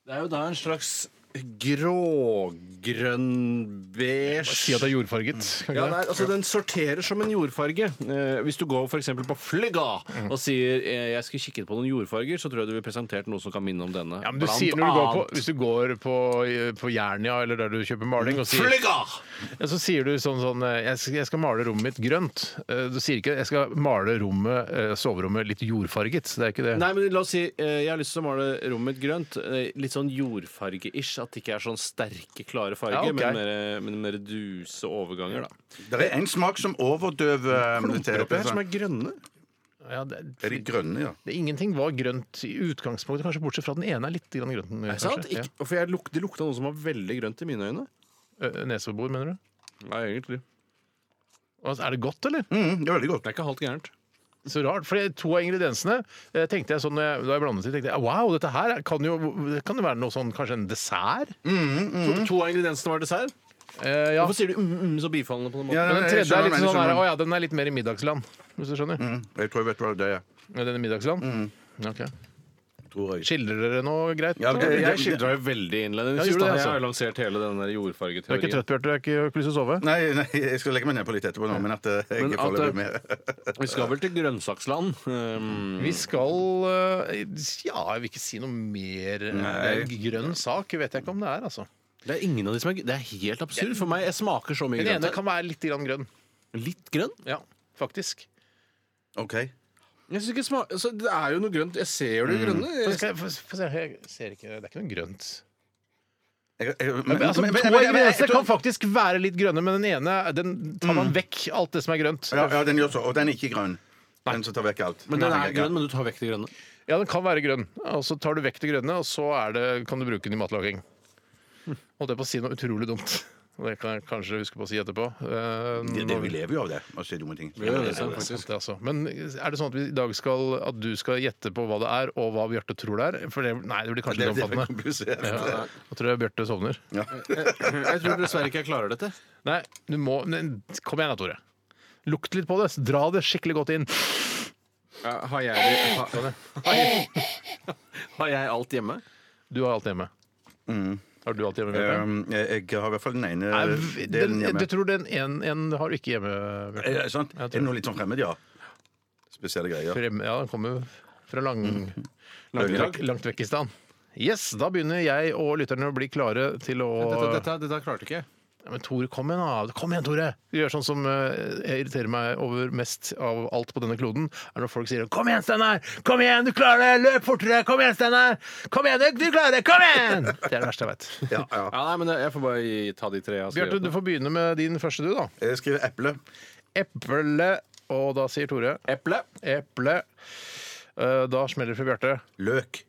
Det er jo da en slags grågrønn-beige
Si at det er jordfarget. Kan
ja,
ikke
nei,
det?
altså Den sorterer som en jordfarge. Eh, hvis du går for eksempel på Flygga og sier eh, jeg skal kikke på noen jordfarger, så tror jeg du vil presentert noe som kan minne om denne.
Ja, men du
Blant
sier når du går på,
annet
Hvis du går på, på Jernia eller der du kjøper maling, og sier,
Flygga!
ja, så sier du sånn sånn eh, jeg skal, 'Jeg skal male rommet mitt grønt'. Eh, Du sier ikke 'jeg skal male rommet, eh, soverommet litt jordfarget'. Det er ikke det.
Nei, men la oss si eh, jeg har lyst til å male rommet mitt grønt. eh, Litt sånn jordfarge-ish. At det ikke er sånn sterke, klare farger,
Ja, ok.
men, mer, men mer duse overganger, da.
Det er en smak som overdøver eh, til
Hva er
dette.
det som er grønne?
Ja, det,
Er de grønne, ja?
det, ingenting var grønt i utgangspunktet, kanskje bortsett fra den ene er litt grann grønn.
Er det sant?
kanskje. Ja.
Ikke, for jeg luk, det lukta noe som var veldig grønt i mine øyne.
Ø, Eh, Nesebor, mener du?
Nei, egentlig.
Altså, Er det godt, eller?
Mm, det er veldig godt.
Det er ikke halvt gærent.
Så rart. For to av ingrediensene eh, tenkte jeg sånn, når jeg- da jeg blandet det, tenkte jeg wow, dette her kan jo, det kan jo være noe sånn, kanskje en dessert?
To- To av ingrediensene var dessert.
Eh, ja.
Hvorfor sier du mm, mm så bifallende på den måten?
Ja,
Men den
jeg
tredje er
skjønner
litt
hva du
sånn
mener,
her, å ja, den er litt mer i middagsland, hvis du skjønner.
Jeg tror jeg vet hva det er.
Ja, Den er middagsland? Ok.
Tror jeg.
Skildrer dere noe greit?
Ja,
eller?
det-
Jeg skildra jo veldig
Ja,
innledningsvis.
gjorde det,
da. Jeg
altså.
har lansert hele den der
Du er ikke
jordfargeteorien.
trøtt, Bjarte? Du er ikke har ikke lyst til å sove?
Nei, nei, jeg skal legge meg ned på litt etterpå nå, men at eh, jeg
Men at,
foreløpig
eh,
med.
Vi skal vel til grønnsaksland. Um,
Vi skal eh, Ja, jeg vil ikke si noe mer. eh,
Nei.
Grønn sak vet jeg ikke om det er, altså.
det er ingen av de som er Det er helt absurd for meg. Jeg smaker så mye
Den
grønt.
ene
her.
kan være litt grann grønn.
Litt grønn?
Ja, faktisk.
OK.
Jeg synes ikke sma altså, Det er Mm. jo noe grønt. Jeg ser jo det grønne.
Men
Jeg,
Skal jeg, få- få se, jeg ser ikke, det er ikke noe grønt.
Jeg- jeg- men-
Men, altså,
men- men-
to
men-
av
men-
gresset
jeg- Mm.
kan faktisk være litt grønne, men den ene den tar man vekk alt det som er grønt.
ja, ja, den gjør så. Og den er ikke grønn. Den som tar vekk alt.
Men den
Nei,
er grønn, men du tar vekk det grønne.
Ja, den kan være grønn. Og så tar du vekk det grønne, og så er det, kan du bruke den i matlaging. Holdt jeg på å si noe utrolig dumt. Og Det kan jeg kanskje huske på å si etterpå. Eh,
Det, det, vi lever jo av det, å si dumme ting.
Det er sant, det, altså. Men er det sånn at vi i dag skal At du skal gjette på hva det er, og hva Bjarte tror det er? For det, nei, det blir kanskje
Det
litt
det er
omfattende.
komplisert.
Da tror jeg Bjarte sovner.
Jeg tror dessverre ikke jeg klarer dette.
Nei, du må men, Kom igjen da, Tore. Lukt litt på det. Dra det skikkelig godt inn.
Har jeg, har, har jeg alt hjemme?
Du har alt hjemme.
Mm.
Har du alt hjemme? Bjarte?
Um, jeg jeg har i hvert fall den ene
Nei, den,
delen hjemme.
du tror den en, en har du ikke hjemme, Bjarte?
Er det sant?
Jeg
Er
tror
det noe litt sånn fremmed, ja? Spesielle greier.
Frem- Ja, Mhm. den kommer fra lang,
Langelag.
langt vekk i stand. Yes, da begynner jeg og lytterne å bli klare til å
Dette, dette, dette klarte ikke jeg.
Ja, men Tore, kom igjen, da. Kom igjen, Tore! Du gjør sånn som eh, jeg irriterer meg over mest av alt på denne kloden. er når folk sier 'Kom igjen, Steinar! Kom igjen, du klarer det! Løp fortere! Kom igjen, Steinar! Kom igjen, du, du klarer det! Kom igjen!' Det er det verste jeg veit.
Ja, ja.
Ja, nei, men Jeg får bare gi- ta de tre. altså. jeg har skrevet
Bjarte, du
nå.
får begynne med din første, du, da.
Jeg skriver eple.
Eple. Og da sier Tore
Eple.
eple. Eh, Da smeller det fra Bjarte.
Løk.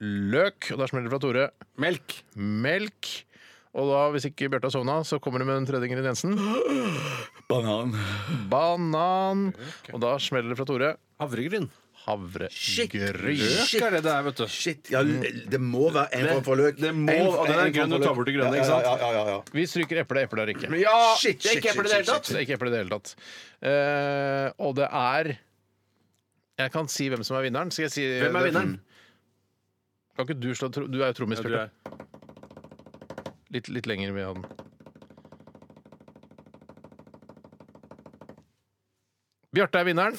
Løk. Og da smeller det fra Tore.
Melk.
Melk. Og da, hvis ikke Bjarte har sovna, så kommer det med den tredje ingrediensen.
Banan.
Banan. Og da smeller det fra Tore.
Havregryn.
havregryn.
Løk er det det er, vet du.
Shit. Ja, det må være en form for løk.
Mm. det må-
En-
og den er
en form
grønn,
for
du tar
løk.
bort det grønne, ikke sant?
Ja, ja, ja, ja, ja.
Vi stryker eple. Eple er ikke. Det
Ja!
Shit,
det er ikke
shit,
eple i det
shit,
hele tatt.
er ikke eple i det hele tatt. Eh, og det er Jeg kan si hvem som er vinneren. Skal jeg si
Hvem er vinneren?
Kan ikke du slå tro- Du er jo trommis,
Ja, du
Bjarte.
er-
Litt, litt lenger med han. Bjarte er vinneren.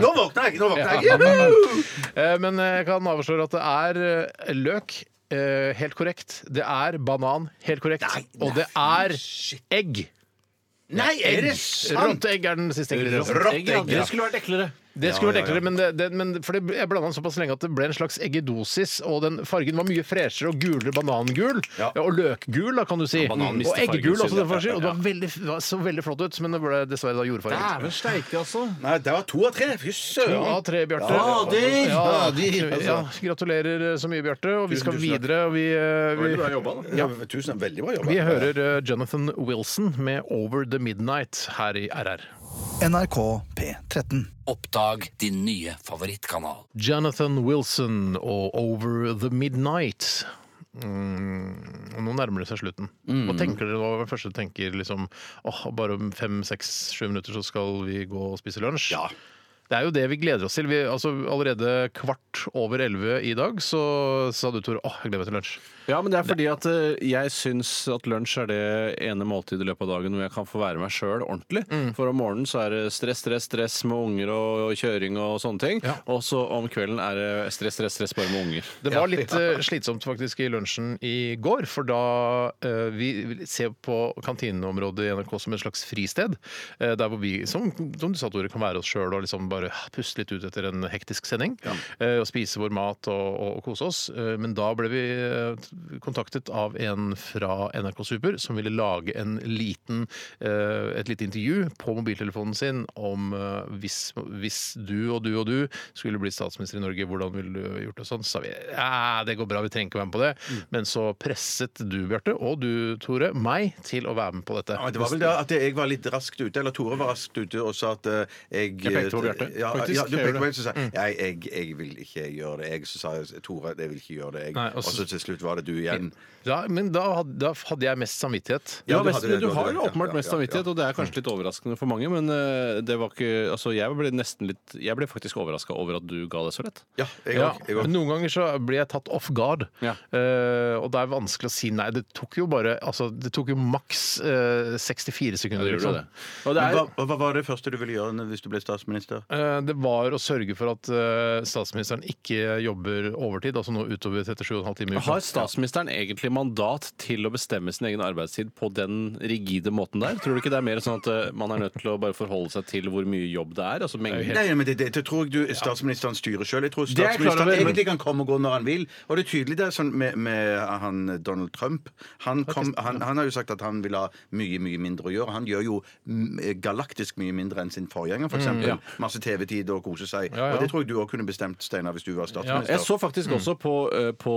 Nå våkner jeg! Nå våkner jeg. Juhu!
Eh, Men jeg kan avsløre at det er eh, løk. eh, helt korrekt. Det er banan. Helt korrekt. og det er egg.
Nei, er det sant?
Rått egg er den siste ingrediensen.
Rått
Egg, ja.
egg, ja.
Det skulle vært eklere.
Det skulle vært
Ja, ja,
eklere, men, det, det, men for det, jeg blanda den såpass lenge at det ble en slags eggedosis, og den fargen var mye freshere og gulere banangul.
Ja.
Og løkgul, da, kan du si.
banan mister
og eggegul
fargen sin,
også, den
ja,
fargen.
ja,
Og det var veldig, det var så veldig flott ut, men det ble dessverre da jordfarget.
Dæven steike, altså.
Nei, det var to av tre. Fy
To
søren.
av tre, Bjarte.
Fader!
Ja,
Fader, altså.
ja, gratulerer så mye, Bjarte. Og vi
tusen
skal
takk.
videre. Og vi, eh, vi,
Ja, tusen takk. Veldig bra jobba.
Vi hører eh, Jonathan Wilson med 'Over the Midnight' her i RR.
NRK P13.
Oppdag din nye favorittkanal.
Jonathan Wilson og 'Over the Midnight'. Mm, og nå nærmer det seg slutten. Hva tenker dere nå? Hva er det første du tenker liksom åh, bare om fem, seks, sju minutter så skal vi gå og spise lunsj?
Ja.
Det er jo det vi gleder oss til. Vi, altså, allerede kvart over elleve i dag så sa du, Tore, åh, jeg gleder meg til lunsj.
Ja, men det er fordi at eh, jeg syns at lunsj er det ene måltidet i løpet av dagen hvor jeg kan få være meg sjøl ordentlig. For om morgenen så er det stress, stress, stress med unger og og kjøring og sånne ting.
Ja.
Og så om kvelden er det stress, stress, stress bare med unger.
Det var litt eh, slitsomt faktisk i lunsjen i går, for da eh, vi ser på kantineområdet i NRK som et slags fristed. eh, der hvor vi, som, som du sa, Tore, kan være oss sjøl og liksom bare puste litt ut etter en hektisk sending. eh, og spise vår mat og, og, og kose oss. Eh, men da ble vi eh, kontaktet av en fra NRK Super som ville lage en liten, eh, et lite intervju på mobiltelefonen sin om eh, hvis, hvis du og du og du skulle bli statsminister i Norge, hvordan ville du gjort det sånn? Så sa vi ja, det går bra, vi trenger ikke være med på det.
Mm.
Men så presset du, Bjarte, og du, Tore, meg til å være med på dette.
Ja, men det var vel det at jeg var litt raskt ute, eller Tore var raskt ute og sa at eh, jeg
Jeg pekte på Bjarte.
Ja,
Faktisk,
ja, du
jeg gjorde
pekte på meg, så sa jeg, jeg, jeg jeg vil ikke gjøre det. Jeg, så sa jeg Tore, jeg vil ikke gjøre det.
Nei,
Jeg.
og
Og
så-
så til slutt var det du igjen.
Ja, men da hadde, da hadde jeg mest samvittighet.
Ja,
Ja,
du
mest,
hadde det,
du
du
har
hadde
jo
det, ja, ja,
åpenbart mest
ja, Mm.
samvittighet,
ja.
og det er kanskje litt overraskende for mange, men eh, det var ikke Altså, jeg ble nesten litt Jeg ble faktisk overraska over at du ga det så lett.
Ja, jeg
Ja,
òg. jeg
men
òg.
noen ganger så blir jeg tatt off guard,
Ja.
Eh, og det er vanskelig å si nei. Det tok jo bare altså, Det tok jo maks eh, 64 sekunder.
Gjorde
liksom.
du det? Og det
Men
er
Hva, hva var det første du ville gjøre når- hvis du ble statsminister?
Eh, eh, det var å sørge for at eh, statsministeren ikke jobber overtid, altså noe utover 37,5 timer i uka.
Har statsministeren egentlig mandat til å bestemme sin egen arbeidstid på den rigide måten der? Tror du ikke det er mer sånn at eh, man er nødt til å bare forholde seg til hvor mye jobb det er? Altså mengden
Nei, men det, det, det tror jeg du statsministeren styrer sjøl. Jeg tror
er jeg klar
statsministeren
over, men-
egentlig kan komme og gå når han vil. Og det er tydelig det er sånn med, med han Donald Trump. Han, kom, han, han har jo sagt at han vil ha mye, mye mindre å gjøre. Han gjør jo mm, galaktisk mye mindre enn sin forgjenger, f.eks. eksempel Masse TV-tid og kose seg.
Mm, Ja, ja.
Og det tror jeg du òg kunne bestemt, Steinar, hvis du var statsminister.
Jeg så faktisk også på, eh, på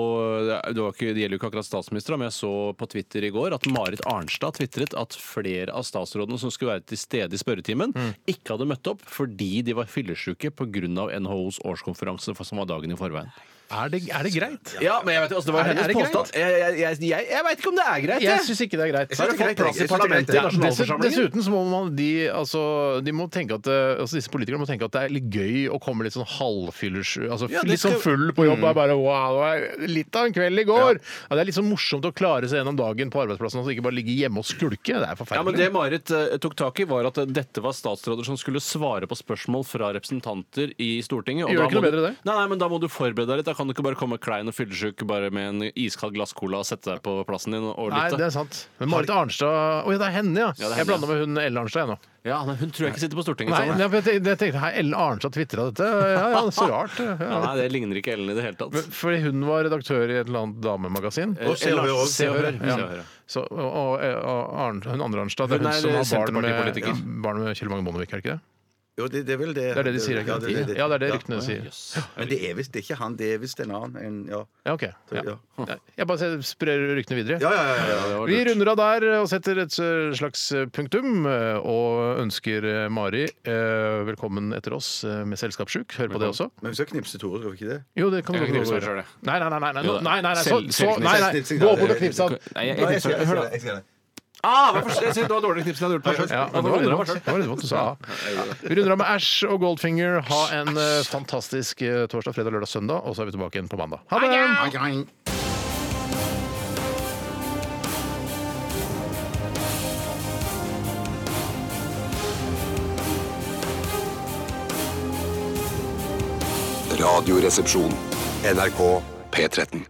det, var ikke, det gjelder jo ikke akkurat statsminister, da, men jeg så på Twitter i går at Marit Arnstad tvitret at flere av statsrådene som skulle være til stede i spørretimen, ikke hadde møtt opp fordi de var fyllesyke pga. NHOs årskonferanse for- som var dagen i forveien.
Er det, er det greit?
Ja, men jeg vet, altså, det var
Er- er
hennes
det greit?
påstand. Jeg, jeg, jeg, jeg, jeg veit ikke om det er greit,
Jeg syns ikke det er greit.
Jeg synes det er greit, jeg. Jeg synes det er
plass i
greit, jeg.
parlamentet, i
Dessuten-
nasjonalforsamlingen.
Dessuten så må man de, altså, de må tenke at, eh, altså disse politikerne må tenke at det er litt gøy å komme litt sånn halvfyllers altså,
Ja, det
Litt sånn
skal- Mm.
full på jobb. Er bare, wow, det var litt av en kveld i går! Ja. det er litt sånn morsomt å klare seg gjennom dagen på arbeidsplassen og altså, ikke bare ligge hjemme og skulke. Det er forferdelig.
Ja, men Det Marit eh, tok tak i, var at eh, dette var statsråder som skulle svare på spørsmål fra representanter i Stortinget.
Gjør
da
ikke noe
må
bedre
du,
det?
Nei, nei, men Da må du forberede deg litt. Da kan du ikke bare komme klein og fyllesyk bare med en iskald glass cola og sette deg på plassen din og
Nei,
lytte.
det er sant. Men Marit Arnstad Å ja, det er henne, ja!
Ja, det er
jeg
henne,
blanda med hun Elle Arnstad, jeg nå.
Ja, nei, Hun tror jeg ikke sitter på Stortinget.
Nei,
sånn,
jeg tenkte, jeg tenkte, hei, Ellen Arnstad tvitra dette. Ja, ja, så rart.
Ja,
Ja.
nei, Det ligner ikke Ellen i det hele tatt.
Men Fordi hun var redaktør i et eller annet damemagasin.
Eh,
Se og
Ellen-
Hør også.
Se og Hør.
Ja.
Se og Hør, ja.
Så, og, og, eh, og Arn, hun andre Arnstad, det er
Hun
hun,
er
som har barn med,
Senterpartipolitiker.
barn med Kjell Magne Bondevik, er det ikke det?
Jo, det, det er vel det.
Det er det de sier, er ikke det? Ja, det er det ryktene sier.
Ja. Men det er visst ikke han, det er visst en annen. En, ja.
Ja, ok. Ja.
Ja.
Ja, Jeg bare ser- sprer ryktene videre.
Ja, ja, ja, ja, ja.
Vi runder av der og setter et eh, slags punktum, eh, og ønsker eh, Mari eh, velkommen etter oss eh, med Selskapssjuk. Hør på det også.
Men vi skal knipse Tore, skal vi ikke det?
Jo, det kan du
Jeg
godt
kan
gjøre.
knipse selv, jeg.
Nei, nei, nei. nei, nei,
Jo,
nei, nei, nei, så,
selv-
så, nei, nei.
selvknipsing,
Gå
da.
bort og knips han.
Nei, jeg, jeg, jeg, hør da.
jeg skal det.
Ah, hva for- jeg, synes det var dårlig knips jeg hadde gjort meg
Ja, men det var litt
sjøl.
vondt. Det var litt vondt du sa. Vi runder av med Ash og Goldfinger. Ha en eh, fantastisk eh, torsdag, fredag, lørdag, søndag, og så er vi tilbake igjen på mandag. Ha det!
Radioresepsjon. NRK P13.